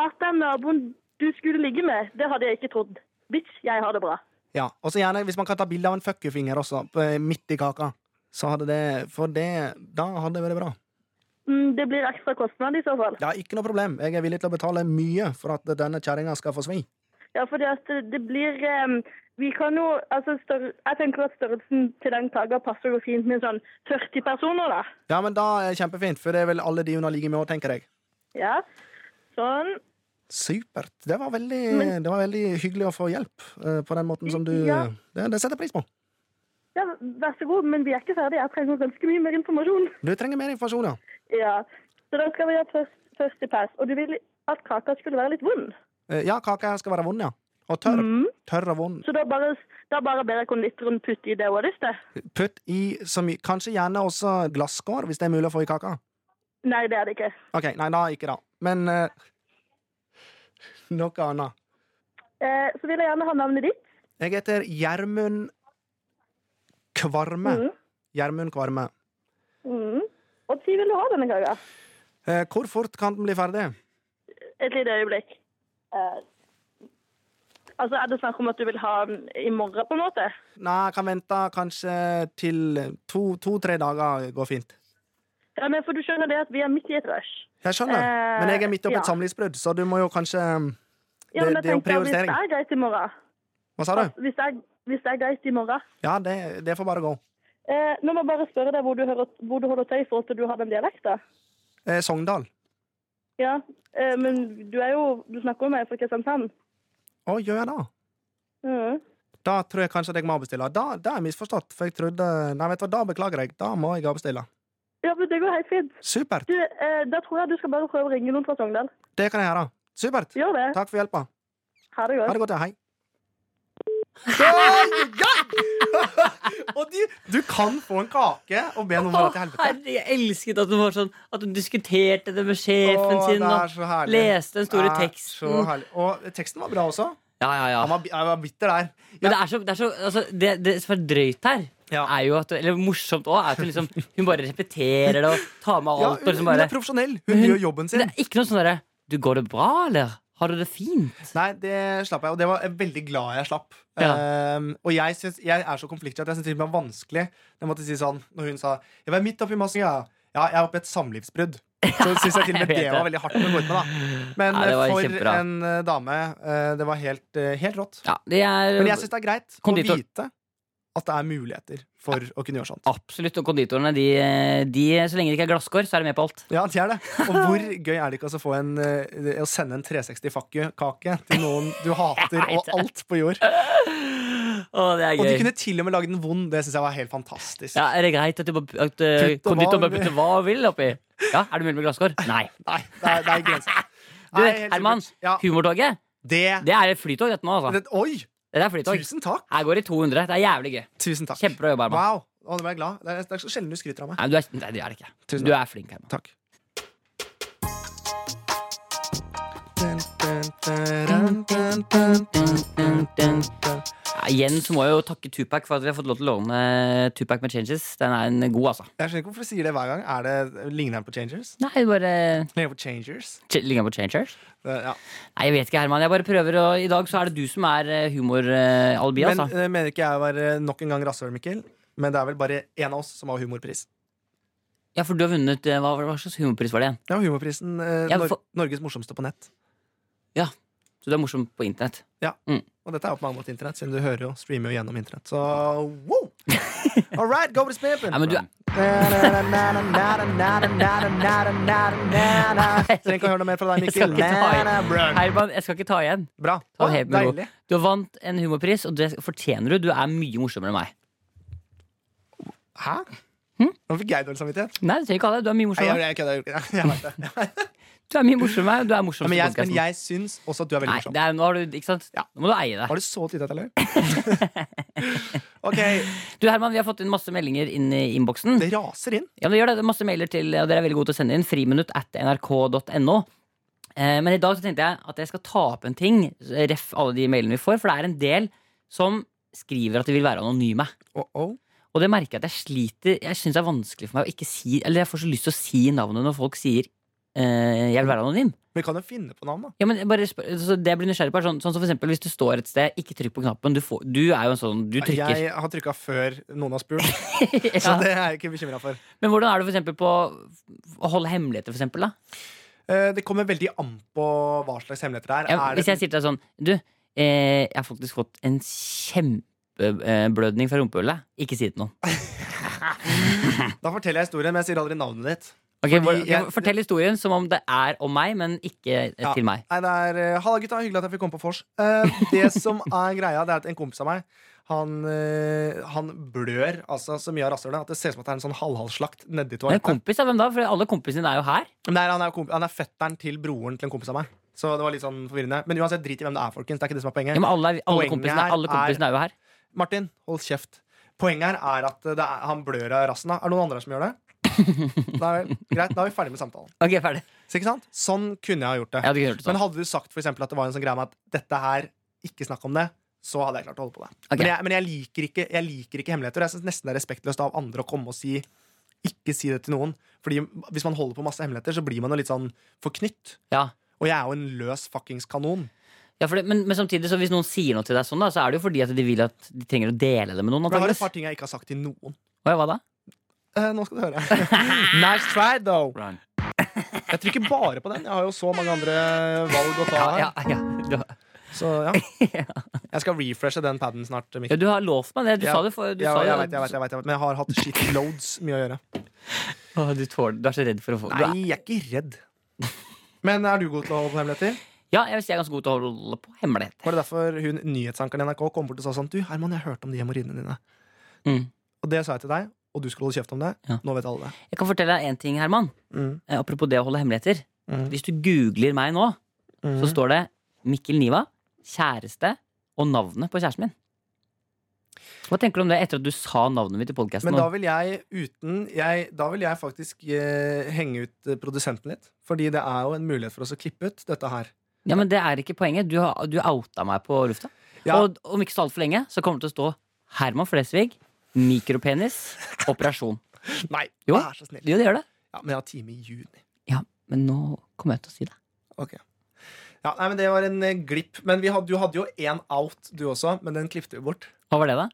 Speaker 4: At den naboen du skulle ligge med, det hadde jeg ikke trodd. Bitch, jeg har det bra.
Speaker 2: Ja, Og så gjerne hvis man kan ta bilde av en fuckerfinger også, p- midt i kaka. Så hadde det For det Da hadde det vært bra.
Speaker 4: Mm, det blir ekstra kostnad i så fall.
Speaker 2: Ja, ikke noe problem. Jeg er villig til å betale mye for at denne kjerringa skal få svi.
Speaker 4: Ja, fordi at det, det blir em, Vi kan jo altså større, Jeg tenker at størrelsen til den kaka passer jo fint med sånn 40 personer, da.
Speaker 2: Ja, men da er det kjempefint, for det er vel alle de hun har ligget med òg, tenker jeg.
Speaker 4: Ja. Sånn.
Speaker 2: Supert. Det var veldig, det var veldig hyggelig å få hjelp eh, på den måten som du
Speaker 4: Ja.
Speaker 2: det, det setter jeg pris på.
Speaker 4: Ja, vær så god, men vi er ikke ferdige. Jeg trenger ganske mye mer informasjon.
Speaker 2: Du trenger mer informasjon, ja.
Speaker 4: Ja, så da skal vi ha først, første pers. Og du vil at kaka skulle være litt vond.
Speaker 2: Eh, Ja, kaka skal være vond, ja. Og tørr.
Speaker 4: Mm.
Speaker 2: Tørr og vond.
Speaker 4: Så da bare, da bare ber jeg konditoren putte i det òg, hvis det.
Speaker 2: Putt i så mye Kanskje gjerne også glasskår, hvis det er mulig å få i kaka.
Speaker 4: Nei, det er det ikke.
Speaker 2: Ok, nei, da ikke da. Men eh, noe annet.
Speaker 4: Eh, så vil jeg gjerne ha navnet ditt.
Speaker 2: Jeg heter Gjermund Kvarme.
Speaker 4: Mhm.
Speaker 2: Gjermund Kvarme.
Speaker 4: Mm. Og tid vil du ha denne kaka?
Speaker 2: Eh, hvor fort kan den bli ferdig?
Speaker 4: Et lite øyeblikk. Eh, altså, er det snakk om at du vil ha den i morgen, på en måte?
Speaker 2: Nei, kan vente kanskje til to-tre dager går fint.
Speaker 4: Ja, men for du skjønner det at vi er midt i et rush.
Speaker 2: Jeg skjønner,
Speaker 4: Eh,
Speaker 2: men jeg er midt oppi
Speaker 4: ja.
Speaker 2: et samlivsbrudd, så du må jo kanskje
Speaker 4: Ja, men
Speaker 2: Det-
Speaker 4: jeg
Speaker 2: det er jo
Speaker 4: tenker, hvis
Speaker 2: prioritering.
Speaker 4: det er greit i morgen,
Speaker 2: Hva sa du?
Speaker 4: hvis det er, hvis det er greit i morgen
Speaker 2: Ja, det, det får bare gå.
Speaker 4: eh, Nå må jeg bare spørre deg hvor du, hører, hvor du holder til i forhold til du har den dialekten.
Speaker 2: Eh, Sogndal.
Speaker 4: Ja, eh, men du er jo Du snakker jo med meg fra Kristiansand.
Speaker 2: Å, gjør jeg det?
Speaker 4: Mm.
Speaker 2: Da tror jeg kanskje at jeg må avbestille. Da, da er jeg misforstått, for jeg trodde Nei, vet du hva, da beklager jeg. Da må jeg avbestille.
Speaker 4: Ja, men det går helt fint.
Speaker 2: Supert!
Speaker 4: Du, eh, da tror jeg du skal bare prøve å ringe noen fra Sogndal.
Speaker 2: Det kan jeg gjøre. Supert!
Speaker 4: Gjør det.
Speaker 2: Takk for hjelpa.
Speaker 4: Ha det
Speaker 2: Ha
Speaker 4: godt.
Speaker 2: det godt, ja. Hei. Ja! Og du, du kan få en kake og be noen dra til helvete.
Speaker 1: Herre, jeg elsket at hun var sånn At hun diskuterte det med sjefen
Speaker 2: Å,
Speaker 1: sin.
Speaker 2: det er
Speaker 1: Og
Speaker 2: så herlig.
Speaker 1: leste den store
Speaker 2: Det er
Speaker 1: teksten.
Speaker 2: så herlig. Og teksten var bra også.
Speaker 1: Ja, ja, ja.
Speaker 2: Han var, bi- han var bitter der.
Speaker 1: Men det er så, det, er så, altså, det, det som er drøyt her,
Speaker 2: Ja.
Speaker 1: er jo at, eller morsomt òg, er at hun, liksom, hun bare repeterer det og tar med
Speaker 2: Ja,
Speaker 1: alt. og
Speaker 2: hun,
Speaker 1: liksom
Speaker 2: hun
Speaker 1: bare,
Speaker 2: er profesjonell. Hun gjør jobben
Speaker 1: det
Speaker 2: sin.
Speaker 1: er ikke noe sånn derre Du, går det bra, eller? Har du det fint?
Speaker 2: Nei, det slapp jeg, og det var jeg veldig glad jeg slapp.
Speaker 1: Ja.
Speaker 2: Ehm, og jeg, syns- jeg er så konfliktsky at jeg syns det var vanskelig Jeg måtte si sånn, når hun sa Jeg var midt oppi massen, ja. ja, jeg er oppi et samlivsbrudd. Så syns jeg til og med
Speaker 1: Jeg vet
Speaker 2: det var
Speaker 1: det.
Speaker 2: veldig hardt å gå ut med, da. Men
Speaker 1: Nei, det var
Speaker 2: eh, for
Speaker 1: kjempebra.
Speaker 2: en eh, dame, eh, det var helt, eh, helt rått.
Speaker 1: Ja, det er
Speaker 2: Men jeg syns det er greit
Speaker 1: Konditor.
Speaker 2: å vite at det er muligheter for å kunne gjøre sånt.
Speaker 1: absolutt. Og konditorene, de, de, så lenge det ikke er glasskår, så er de med på alt.
Speaker 2: Ja, det er det. Og hvor gøy er det ikke altså å, få en, eh, å sende en 360-kake til noen du hater og alt på jord?
Speaker 1: Å, det er
Speaker 2: Og de
Speaker 1: gøy.
Speaker 2: kunne til og med lage den vond. Det syns jeg var helt fantastisk.
Speaker 1: Ja, er det greit at, du bare, at eh,
Speaker 2: Putte hva
Speaker 1: konditor
Speaker 2: hun
Speaker 1: bare
Speaker 2: vil.
Speaker 1: putter hva hun vil oppi? Ja, Er det mulig med glasskår? Nei.
Speaker 2: Nei, det er, det er grenser.
Speaker 1: Du,
Speaker 2: Nei, helt
Speaker 1: Herman,
Speaker 2: supert. ja,
Speaker 1: humortoget,
Speaker 2: det,
Speaker 1: det er et flytog, dette nå, altså.
Speaker 2: det, Oi!
Speaker 1: Det er flytog.
Speaker 2: Tusen takk!
Speaker 1: Her går det i 200. Det er jævlig gøy.
Speaker 2: Tusen takk.
Speaker 1: Kjempebra jobba, Herman.
Speaker 2: Wow. Å, nå ble jeg glad. Det er, det er så sjelden du skryter av meg.
Speaker 1: Nei, du er, nei, det er det ikke.
Speaker 2: Tusen
Speaker 1: Du er flink, Herman.
Speaker 2: Takk.
Speaker 1: Ja, igjen så må jeg jo takke Tupac for at vi har fått lov til å låne eh, Tupac med Changes. Den er en god, altså.
Speaker 2: Jeg skjønner ikke hvorfor du sier det hver gang. Er det, ligner den på Changers?
Speaker 1: Nei, det bare
Speaker 2: Ligner den på Changers?
Speaker 1: Ch- Ligger den på Changers?
Speaker 2: Det- Ja.
Speaker 1: Nei, jeg vet ikke, Herman. Jeg bare prøver å I dag så er det du som er eh, humoralibi,
Speaker 2: Men
Speaker 1: altså.
Speaker 2: eh, mener ikke jeg å være nok en gang rasshøl, Mikkel? Men det er vel bare én av oss som har humorpris.
Speaker 1: Ja, for du har vunnet eh, Hva, hva slags humorpris var det igjen?
Speaker 2: Ja, humorprisen eh,
Speaker 1: Ja,
Speaker 2: Nor
Speaker 1: for-
Speaker 2: Norges morsomste på nett.
Speaker 1: Så du er morsom på internett.
Speaker 2: Og dette er jo på mange måter internett, siden du hører jo streamer jo gjennom internett. Så wow! All right, go with spampen!
Speaker 1: Nei, men du er
Speaker 2: Trenger ikke å høre noe mer fra deg,
Speaker 1: Jeg skal
Speaker 2: Mikkel.
Speaker 1: ikke ta
Speaker 2: Na,
Speaker 1: igjen.
Speaker 2: na, brød.
Speaker 1: Herman, jeg skal ikke ta igjen.
Speaker 2: Bra.
Speaker 1: Ta
Speaker 2: Å,
Speaker 1: det helt med ro.
Speaker 2: deilig.
Speaker 1: Du har vant en humorpris, og det fortjener du. Du er mye morsommere enn meg.
Speaker 2: Hæ?
Speaker 1: Hm?
Speaker 2: Nå fikk jeg dårlig samvittighet.
Speaker 1: Nei, du trenger ikke ha det. Du er mye
Speaker 2: Nei,
Speaker 1: morsommere.
Speaker 2: jeg kødder. jeg gjorde ikke det. Jeg vet det.
Speaker 1: Du er mye morsommere enn meg. Du er morsomst
Speaker 2: Men
Speaker 1: i
Speaker 2: jeg, men
Speaker 1: podcasten.
Speaker 2: jeg syns også at du er veldig morsom.
Speaker 1: sånn- Nei, det er, nå har du, ikke sant?
Speaker 2: Ja.
Speaker 1: Nå må du eie det.
Speaker 2: Var det så tydelig at jeg løy? ok,
Speaker 1: Du Herman, Vi har fått inn masse meldinger inn i innboksen.
Speaker 2: det raser inn.
Speaker 1: Ja, men det gjør det. det er masse mailer til, og Dere er veldig gode til å sende inn. Friminutt at nrk.no. Eh, men i dag så tenkte jeg at jeg skal ta opp en ting, ref alle de mailene vi får. For det er en del som skriver at de vil være anonyme.
Speaker 2: Oh, oh.
Speaker 1: Og det merker jeg at jeg sliter Jeg syns det er vanskelig for meg å ikke si Eller jeg får så lyst til å si navnet når folk sier eh, 'jeg vil være anonym'.
Speaker 2: Vi kan jo finne på navn, da.
Speaker 1: Ja, men jeg bare spør, så det jeg blir nysgjerrig på er sånn, sånn som for eksempel Hvis du står et sted, ikke trykk på knappen. Du, får, du er jo en sånn Du trykker.
Speaker 2: Jeg har trykka før noen har spurt, så
Speaker 1: Ja.
Speaker 2: det er jeg ikke bekymra for.
Speaker 1: Men hvordan er du for eksempel på å holde hemmeligheter, for eksempel? Da?
Speaker 2: Eh, Det kommer veldig an på hva slags hemmeligheter det er.
Speaker 1: Jeg,
Speaker 2: er det,
Speaker 1: hvis jeg sier til deg sånn Du, eh, jeg har faktisk fått en kjempeblødning fra rumpehullet. Ikke si det til noen.
Speaker 2: Da forteller jeg historien, men jeg sier aldri navnet ditt.
Speaker 1: Ok,
Speaker 2: Fordi
Speaker 1: hvor-
Speaker 2: jeg-
Speaker 1: Fortell historien som om det er om meg, men ikke eh,
Speaker 2: Ja.
Speaker 1: til meg.
Speaker 2: Nei, det er eh, Halla, gutta. Hyggelig at jeg fikk komme på vors. Eh, Det som er greia, det er at en kompis av meg han, eh, han blør altså, så mye av rasshølet at det ser ut som at det er en sånn halvhalsslakt nedi
Speaker 1: Men
Speaker 2: toalettet.
Speaker 1: kompis av hvem da? For alle kompisene dine er jo her.
Speaker 2: Nei, han er, komp han er fetteren til broren til en kompis av meg. Så det var litt sånn forvirrende. Men uansett, drit i hvem det er, folkens. Det er ikke det som er poenget.
Speaker 1: Ja, men alle, er- alle,
Speaker 2: Poenget
Speaker 1: kompisene,
Speaker 2: her
Speaker 1: alle kompisene er jo her.
Speaker 2: Martin, hold kjeft. Poenget her er at det er, han blør av rassen av. Er det noen andre som gjør det? Da er, greit, da er vi ferdig med samtalen.
Speaker 1: Ok, ferdig.
Speaker 2: Så, ikke sant? Sånn kunne jeg ha gjort det.
Speaker 1: Jeg hadde ikke gjort det sånn.
Speaker 2: Men hadde du sagt for eksempel, at det var en sånn greie med at dette her, ikke snakk om det, så hadde jeg klart å holde på det.
Speaker 1: Ok.
Speaker 2: Men, jeg, men jeg, liker ikke, jeg liker ikke hemmeligheter. Jeg synes nesten det er respektløst av andre å komme og si ikke si det til noen. Fordi hvis man holder på masse hemmeligheter, så blir man jo litt sånn forknytt.
Speaker 1: Ja.
Speaker 2: Og jeg er jo en løs fuckings kanon.
Speaker 1: Ja, for det, men, men samtidig, så hvis noen sier noe til deg sånn, da, så er det jo fordi at de vil at de trenger å dele det med noen.
Speaker 2: Men jeg har
Speaker 1: antageligvis.
Speaker 2: et par ting jeg ikke har sagt til noen.
Speaker 1: Å, ja, hva da?
Speaker 2: Eh, nå skal du høre. nice try, though. Jeg trykker bare på den. Jeg har jo så mange andre valg å ta
Speaker 1: Ja,
Speaker 2: her.
Speaker 1: ja, ja. Du, har-
Speaker 2: Så ja. Jeg skal refreshe den paden snart. Mikkel.
Speaker 1: ja, du har lovt meg det. Du
Speaker 2: Ja,
Speaker 1: sa det for du
Speaker 2: Ja,
Speaker 1: sa
Speaker 2: jeg,
Speaker 1: det-
Speaker 2: vet, jeg, vet, jeg vet, jeg vet, men jeg har hatt shitloads mye å gjøre.
Speaker 1: Å, du, tåler, du er så redd for å få du er,
Speaker 2: Nei, jeg er ikke redd. Men er du god til å holde på hemmeligheter?
Speaker 1: Ja, jeg vil si jeg er ganske god til å holde på hemmeligheter.
Speaker 2: Var det derfor hun nyhetsankeren i NRK kom bort og sa sånn Du, Herman, jeg hørte om de hemoroidene dine.
Speaker 1: Mm.
Speaker 2: Og det sa jeg til deg, og du skulle holde kjeft om det.
Speaker 1: Ja.
Speaker 2: Nå vet alle det.
Speaker 1: Jeg kan fortelle deg en ting, Herman.
Speaker 2: Mm.
Speaker 1: Eh, Apropos det å holde hemmeligheter.
Speaker 2: Mm.
Speaker 1: Hvis du googler meg nå,
Speaker 2: Mm.
Speaker 1: så står det Mikkel Niva, kjæreste og navnet på kjæresten min. Hva tenker du om det etter at du sa navnet mitt i podkasten?
Speaker 2: Men da vil jeg uten jeg, Da vil jeg faktisk eh, henge ut eh, produsenten litt. Fordi det er jo en mulighet for oss å klippe ut dette her.
Speaker 1: Ja, men det er ikke poenget. Du, har, du outa meg på lufta.
Speaker 2: Ja.
Speaker 1: Og om ikke så altfor lenge så kommer det til å stå Herman Flesvig, mikropenis, operasjon.
Speaker 2: Nei,
Speaker 1: Jo.
Speaker 2: vær så snill.
Speaker 1: Jo, det gjør det.
Speaker 2: Ja, men jeg har time i juni.
Speaker 1: Ja, men nå kommer jeg til å si det.
Speaker 2: Ok ja, nei, men Det var en eh, glipp. Men vi hadde, du hadde jo én out, du også. Men den klippte vi bort.
Speaker 1: Hva var det, da?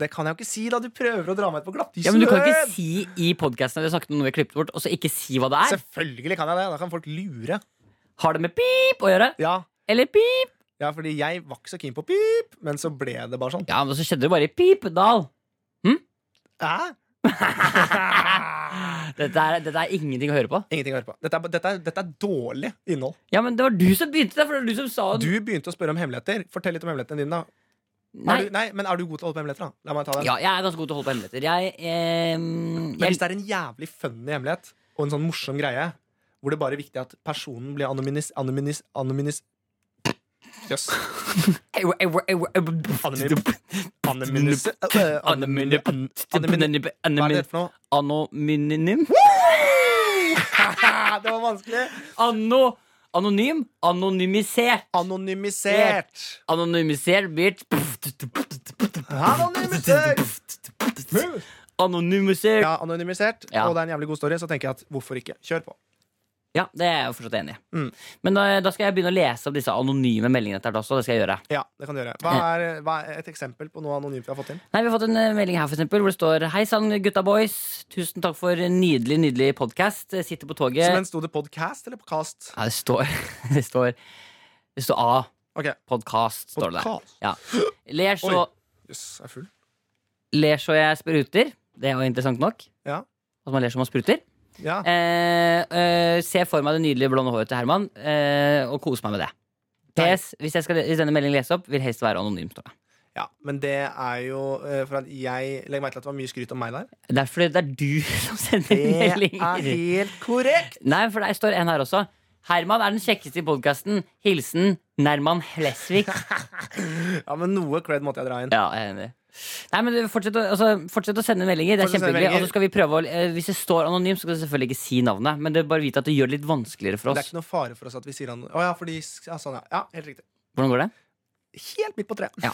Speaker 2: Det kan jeg jo ikke si, da. Du prøver å dra meg ut på glattisen.
Speaker 1: Ja, men Du kan ikke si i podkasten at vi har snakket om noe vi har klippet bort, og så ikke si hva det er.
Speaker 2: Selvfølgelig kan jeg det. Da kan folk lure.
Speaker 1: Har det med pip å gjøre?
Speaker 2: Ja,
Speaker 1: Eller pip?
Speaker 2: ja fordi jeg var ikke så keen på pip, men så ble det bare sånn.
Speaker 1: Ja, men så skjedde det bare i Pipedal.
Speaker 2: Hæ?
Speaker 1: Dette er, dette er ingenting å høre på.
Speaker 2: Ingenting å høre på. Dette er, dette, er, dette er dårlig innhold.
Speaker 1: Ja, men det var du som begynte det, for det var du som sa
Speaker 2: Du begynte å spørre om hemmeligheter. Fortell litt om hemmelighetene dine. da
Speaker 1: Nei.
Speaker 2: Er du, nei, Men er du god til å holde på hemmeligheter? da? La meg ta den.
Speaker 1: Ja, jeg er ganske god til å holde på hemmeligheter. Jeg, ehm,
Speaker 2: Men
Speaker 1: jeg
Speaker 2: hvis det er en jævlig funny hemmelighet og en sånn morsom greie, hvor det bare er viktig at personen blir anonymis... Anonymis... anonymis Jøss. Anonymi- Anonymis... øh, anonymi- an- anonymi- Hva er det for noe?
Speaker 1: Anonyminim?
Speaker 2: Ah, Det var vanskelig.
Speaker 1: Anno... Anonym? Anonymisert.
Speaker 2: Anonymisert.
Speaker 1: Anonymisert bitch.
Speaker 2: Anonymisert.
Speaker 1: Anonymisert.
Speaker 2: Ja, anonymisert.
Speaker 1: Ja.
Speaker 2: Og det er en jævlig god story, så tenker jeg at hvorfor ikke? Kjør på.
Speaker 1: Ja, det er jeg jo fortsatt enig i.
Speaker 2: Mm.
Speaker 1: Men da, da skal jeg begynne å lese opp disse anonyme meldingene etter hvert også. Det skal jeg gjøre.
Speaker 2: Ja, det kan du gjøre. Hva er, hva er et eksempel på noe anonymt vi har fått inn?
Speaker 1: Nei, Vi har fått en eh, melding her for eksempel, hvor det står Hei sann, gutta boys. Tusen takk for en nydelig nydelig podkast. Sitter på toget
Speaker 2: Så, men Sto det podcast eller podcast?
Speaker 1: Ja, det står Det står, det står A.
Speaker 2: Ok.
Speaker 1: Podkast, står det der.
Speaker 2: Podcast.
Speaker 1: Ja. Ler, så,
Speaker 2: Oi. Jøss, jeg er full.
Speaker 1: ler så jeg spruter. Det er jo interessant nok.
Speaker 2: Ja.
Speaker 1: At man ler som man spruter.
Speaker 2: Ja.
Speaker 1: Eh, eh, ser for meg det nydelige blonde håret til Herman, eh, og koser meg med det. PS, hvis, jeg skal, hvis denne meldingen leses opp, vil helst være anonym. Står det.
Speaker 2: Ja, men det er jo eh, For at jeg legger merke til at det var mye skryt om meg der.
Speaker 1: Det er fordi det er du som sender
Speaker 2: Det er
Speaker 1: meldinger.
Speaker 2: helt korrekt!
Speaker 1: Nei, for der står en her også. Herman er den kjekkeste i podkasten. Hilsen Nerman Flesvig.
Speaker 2: Ja, men noe cred måtte jeg dra inn.
Speaker 1: Ja, jeg er enig. Nei, men du, fortsett å, altså, fortsett å sende meldinger. Det er
Speaker 2: Fortsett å sende
Speaker 1: kjempehyggelig.
Speaker 2: meldinger.
Speaker 1: Og så skal vi prøve å, eh, Hvis det står anonym, så skal du selvfølgelig ikke si navnet. Men det er bare vite at det gjør det litt vanskeligere for
Speaker 2: Det er
Speaker 1: oss.
Speaker 2: ikke noe fare for oss at vi sier han Å ja, fordi ja, sånn, ja. ja. Helt riktig.
Speaker 1: Hvordan går det?
Speaker 2: Helt midt på treet.
Speaker 1: Ja.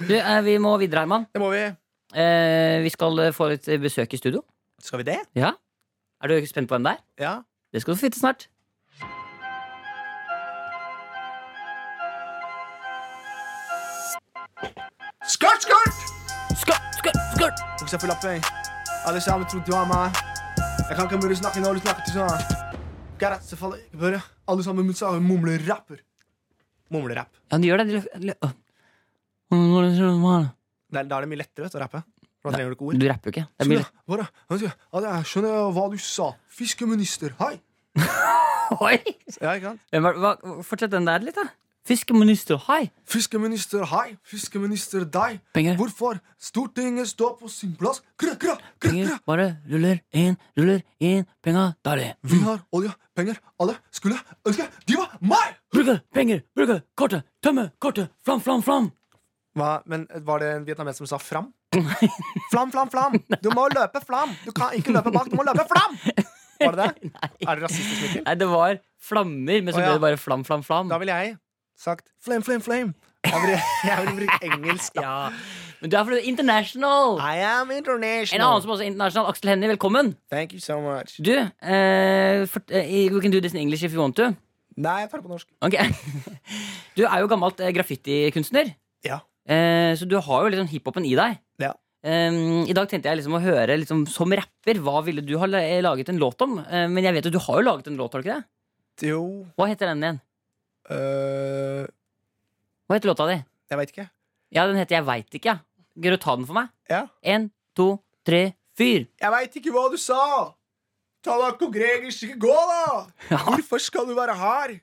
Speaker 1: Du, eh, vi må videre, Herman.
Speaker 2: Det må vi.
Speaker 1: Eh, vi skal eh, få litt besøk i studio.
Speaker 2: Skal vi det?
Speaker 1: Ja? Er du spent på hvem det er?
Speaker 2: Ja.
Speaker 1: Det skal du få vite snart.
Speaker 2: Skurt, skurt!
Speaker 1: Skål, skål, skål!
Speaker 2: Buksa full av peng. eh. Alle sammen tror du er meg. Jeg kan ikke mye snakke når du snakker til sånn. Garrett, så faller jeg ikke bare. Alle sammen mot seg mumlerapper. Mumlerapp.
Speaker 1: Ja, de gjør det. De, lø- lø-
Speaker 2: Det er- Da er det mye lettere vet, du, å rappe. For Da trenger du ikke ord.
Speaker 1: du rapper jo ikke. Det er mye
Speaker 2: Skjønner, bare, skjønner, jeg skjønner hva du sa. Fiskeminister, hei!
Speaker 1: Oi!
Speaker 2: Ja, ikke sant?
Speaker 1: Hvem er- hva- Fortsett den der litt, da. Fiskeminister, hei!
Speaker 5: Fiskeminister, hei. Fiskeminister, deg.
Speaker 1: Penger.
Speaker 5: Hvorfor? Stortinget står på sin plass. Kra, kra, kra,
Speaker 1: Penger
Speaker 5: kra.
Speaker 1: bare ruller inn, ruller inn. Penga, deilig.
Speaker 5: Vi har olje, penger. Alle skulle ønske de var meg!
Speaker 1: Bruke penger, bruke kortet, tømme kortet. Flam, flam, flam.
Speaker 2: Hva, men eh, Var det en vietnameser som sa fram? Flam, flam, flam! Du må løpe flam! Du kan ikke løpe bak, du må løpe flam! Var det det? Er det rasistisk, Mikkel?
Speaker 1: Nei, det var flammer, men så
Speaker 2: Å,
Speaker 1: ble
Speaker 2: ja.
Speaker 1: det bare flam, flam, flam.
Speaker 2: Da ville jeg sagt flame, flame, flame. Jeg ville, jeg ville brukt engelsk. da.
Speaker 1: Ja. Men du er fordi du er international.
Speaker 2: I am
Speaker 1: En annen
Speaker 2: international.
Speaker 1: som også er internasjonal, Aksel Hennie, velkommen.
Speaker 2: Thank you so much.
Speaker 1: Du, eh, fort- eh, we can do this in English if you want to.
Speaker 2: Nei, jeg tar det på norsk.
Speaker 1: Ok. Du er jo gammelt eh, graffitikunstner,
Speaker 2: Ja.
Speaker 1: eh, så du har jo liksom hiphopen i deg.
Speaker 2: Ja.
Speaker 1: Eh, I dag tenkte jeg liksom å høre, liksom, som rapper, hva ville du ha la- laget en låt om? Eh, men jeg vet jo, du har jo laget en låt, har du ikke det?
Speaker 2: Jo
Speaker 1: Hva heter den igjen?
Speaker 2: øh,
Speaker 1: Hva heter låta di?
Speaker 2: Jeg veit ikke.
Speaker 1: Ja, den heter Jeg veit ikke, ja. Gidder du ta den for meg?
Speaker 2: Ja.
Speaker 1: En, to, tre, fyr.
Speaker 5: Jeg veit ikke hva du sa! Talako Gregers, ikke gå, da!
Speaker 1: Ja.
Speaker 5: Hvorfor skal du være her?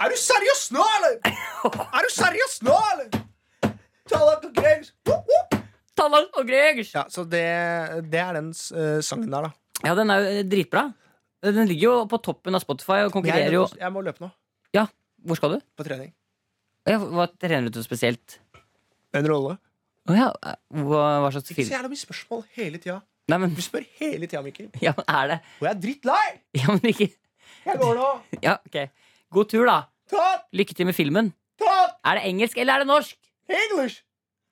Speaker 5: Er du seriøs nå, eller? Er du seriøs nå, eller? Talako Gregers whoop, whoop.
Speaker 1: Tallas og Gregers!
Speaker 2: Ja, så det, det er den øh, sangen der, da.
Speaker 1: Ja, den er jo eh, dritbra. Den ligger jo på toppen av Spotify og
Speaker 2: Jeg,
Speaker 1: konkurrerer jo
Speaker 2: jeg må løpe nå.
Speaker 1: Ja, hvor skal du?
Speaker 2: På trening.
Speaker 1: Ja, hva trener du til spesielt?
Speaker 2: En rolle.
Speaker 1: Å ja, eh, hva, hva slags
Speaker 2: Ikke så
Speaker 1: film?
Speaker 2: jævla mye spørsmål hele tida.
Speaker 1: Nei, men,
Speaker 2: Du spør hele tida, Mikkel.
Speaker 1: ja, men er det
Speaker 2: Og jeg er drittlei!
Speaker 1: Ja, men ikke
Speaker 2: Jeg går nå.
Speaker 1: Ja, ok. God tur, da.
Speaker 2: Ta,
Speaker 1: Lykke til med filmen.
Speaker 2: ta,
Speaker 1: Er det engelsk, eller er det norsk?
Speaker 2: English!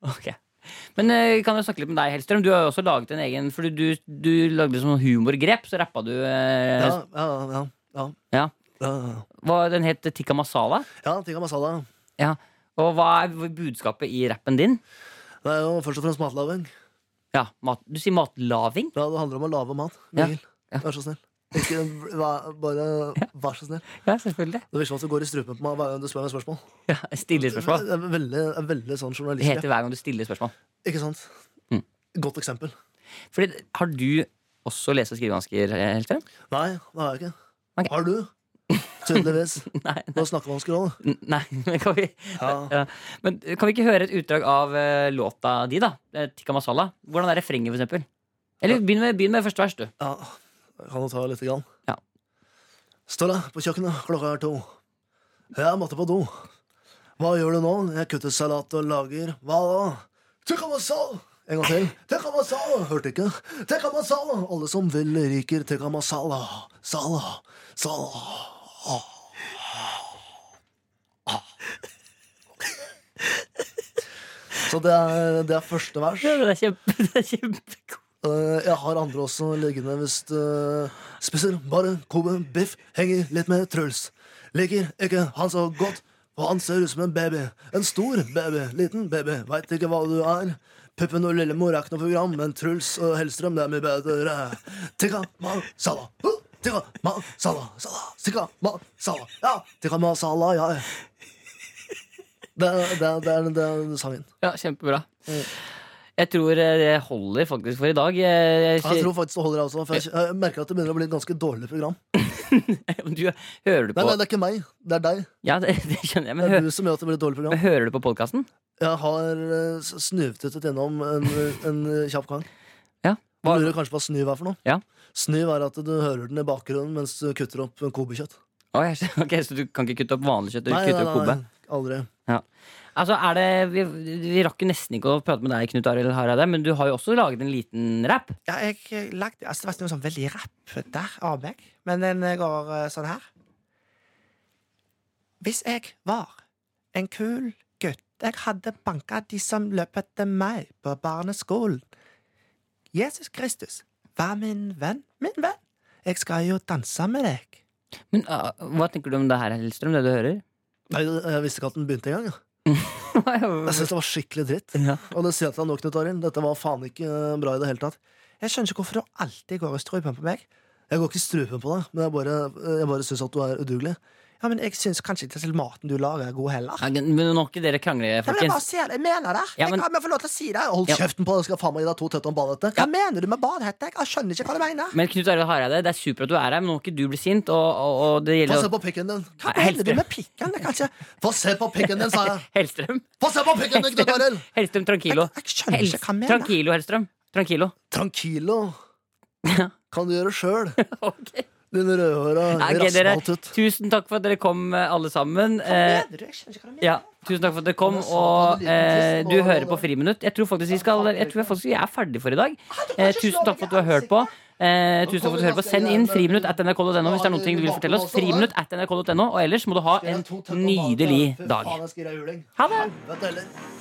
Speaker 1: Ok. Men eh, vi kan jo snakke litt med deg, Hellstrøm. Du har jo også laget en egen Fordi du, du lagde sånn humorgrep, så rappa du eh,
Speaker 5: Ja, ja, ja. Ja,
Speaker 1: Ja.
Speaker 5: ja, ja.
Speaker 1: hva, Den het Tikka Masala.
Speaker 5: ja tikka masala.
Speaker 1: Ja. Og hva er budskapet i rappen din?
Speaker 5: Det er jo først og fremst matlaging.
Speaker 1: Ja, mat, Du sier matlaging?
Speaker 5: Ja, det handler om å lage mat.
Speaker 1: Ja,
Speaker 5: Mikkel.
Speaker 1: ja.
Speaker 5: Vær så snill. Ikke vær- bare vær så snill.
Speaker 1: Ja, selvfølgelig.
Speaker 5: Det virker som at det går i strupen på meg hver gang du spør meg spørsmål.
Speaker 1: Ja, Stille spørsmål.
Speaker 5: Det er veldig, det er veldig sånn
Speaker 1: Det
Speaker 5: journalist.
Speaker 1: heter hver gang du stiller spørsmål.
Speaker 5: Ikke sant?
Speaker 1: Mm.
Speaker 5: Godt eksempel.
Speaker 1: Fordi, har du også lese- og skrivevansker, eh, Hellstrøm?
Speaker 5: Nei, det har jeg ikke.
Speaker 1: Ok.
Speaker 5: Har du? Tydeligvis.
Speaker 1: Nei,
Speaker 5: Du har snakkevansker òg.
Speaker 1: n- nei, men kan vi
Speaker 5: Ja.
Speaker 1: ja. Men kan vi ikke høre et utdrag av eh, låta di, da? Eh, Tikka Masala. Hvordan er refrenget, for eksempel? Eller begynn med, begynn med første vers, du.
Speaker 5: Ja, jeg kan jo ta litt. Grann.
Speaker 1: Ja.
Speaker 5: Står jeg på kjøkkenet, klokka er to. Jeg måtte på do. Hva gjør du nå? Jeg kutter salat og lager Hva da? Tikka masala! En gang til. Tikka masala! Hørte ikke. Tikka masala! Alle som vil, liker tikka masala. Sala. Sala. Så det er, det er første vers.
Speaker 1: Ja, Det er kjempe, det er kjempegod.
Speaker 5: Eh, jeg har andre også liggende hvis det spiser bare Kobe biff. Henger litt med Truls. Liker ikke han så godt, for han ser ut som en baby. En stor baby, liten baby, veit ikke hva du er. Puppen og Lillemor er ikke noe program, men Truls og Hellstrøm det er mye bedre. Tikka masala. Uh, Tikka masala, sala, tikka masala. Ja, tikka masala, ja. Det, det, det, er- det er sangen.
Speaker 1: Ja, kjempebra. Jeg tror eh, det holder faktisk for i dag. Jeg,
Speaker 5: Jeg tror faktisk det holder, jeg også. For jeg, jeg merker at det begynner å bli et ganske dårlig program.
Speaker 1: du, hører du
Speaker 5: Nei,
Speaker 1: på
Speaker 5: nei, det er ikke meg. Det er deg.
Speaker 1: Ja, det, det skjønner jeg, men,
Speaker 5: Det er
Speaker 1: hø,
Speaker 5: du som gjør at det blir et dårlig
Speaker 1: men
Speaker 5: program.
Speaker 1: hører du på podkasten?
Speaker 5: Jeg har eh, s- snøvtuttet gjennom en, eh, en kjapp gang.
Speaker 1: Ja.
Speaker 5: Du
Speaker 1: Hva-
Speaker 5: lurer kanskje på hva snyv er for noe?
Speaker 1: Ja.
Speaker 5: Snyv er at du hører den i bakgrunnen mens du kutter opp en kobekjøtt.
Speaker 1: Å, jeg skjønner. ok, Så du kan ikke kutte opp vanlig kjøtt? Du kutter opp kobbe?
Speaker 5: aldri.
Speaker 1: Altså, er det, vi, vi rakk jo nesten ikke å prate med deg, Knut Arild Hareide, men du har jo også laget en liten rap.
Speaker 2: Ja, jeg lagde altså, Det var ikke noe sånn veldig rappete av meg, men den går eh, sånn her. Hvis jeg var en kul gutt, jeg hadde banka de som løp etter meg på barneskolen. Jesus Kristus var min venn, min venn. Jeg skal jo danse med deg.
Speaker 1: Men ah, Hva tenker du om det her, Hellstrøm, det du hører?
Speaker 5: Nei, jeg visste ikke at den begynte engang. jeg. Jeg synes det var skikkelig dritt.
Speaker 1: Ja.
Speaker 5: Og det sier jeg til deg nå, Knut Arild. Dette var faen ikke eh, bra i det hele tatt.
Speaker 2: Jeg skjønner ikke hvorfor du alltid går i strupen på meg. eh,
Speaker 5: Jeg går ikke i strupen på deg, men jeg bare, jeg bare syns at du er udugelig.
Speaker 2: Ja, men jeg syns kanskje ikke til maten du lager, er god heller.
Speaker 1: Ja, Men nå må ikke dere krangle,
Speaker 2: Ja, men jeg bare
Speaker 1: folkens.
Speaker 2: ser det, jeg mener det.
Speaker 1: Ja, men-
Speaker 2: jeg, jeg får lov til å si det.
Speaker 5: Hold
Speaker 1: Ja.
Speaker 5: kjeften på deg, skal faen meg gi deg to tøtter om badehette.
Speaker 2: Hva mener du med badehette? Jeg skjønner ikke hva du mener.
Speaker 1: Men Knut Arild Hareide, det er supert at du er her, men nå må ikke du bli sint. Og, og, og det
Speaker 5: Få
Speaker 1: gjelder
Speaker 5: se på pikken din.
Speaker 2: Hva mener
Speaker 1: Nei,
Speaker 2: du
Speaker 1: Hellstrøm.
Speaker 2: med pikken? Det er kanskje
Speaker 5: Få se på pikken din, sa jeg.
Speaker 1: Hellstrøm.
Speaker 5: Få se på pikken din, Knut Arild.
Speaker 1: Hellstrøm Tranquilo.
Speaker 2: Jeg- jeg skjønner ikke hva han mener.
Speaker 1: Tranquilo, Hellstrøm. Tranquilo.
Speaker 5: Tranquilo.
Speaker 1: Ja.
Speaker 5: Kan du gjøre sjøl,
Speaker 1: Ok.
Speaker 5: din rødhåra
Speaker 1: Nei, ok, dere,
Speaker 5: rassbaltut.
Speaker 1: tusen takk for at dere kom, eh, alle sammen.
Speaker 2: Hva
Speaker 1: Eh,
Speaker 2: mener du? Jeg skjønner ikke hva du mener.
Speaker 1: ja, tusen takk for at dere kom.
Speaker 5: Jeg sa
Speaker 1: Og
Speaker 5: det var en liten
Speaker 1: eh,
Speaker 5: tiss
Speaker 1: du
Speaker 5: på-
Speaker 1: hører på Friminutt. Jeg tror faktisk vi skal Jeg tror jeg faktisk vi er ferdig for i dag. Eh, tusen takk for at du har hørt på. Eh, tusen takk for at du hører på Send inn friminutt at nrk.no hvis det er noen ting du vil fortelle oss. Friminutt at nrk.no Og ellers må du ha en nydelig dag.
Speaker 5: Fy eh, faen, jeg skal gi deg juling.
Speaker 1: Ha det!
Speaker 5: Helvete heller.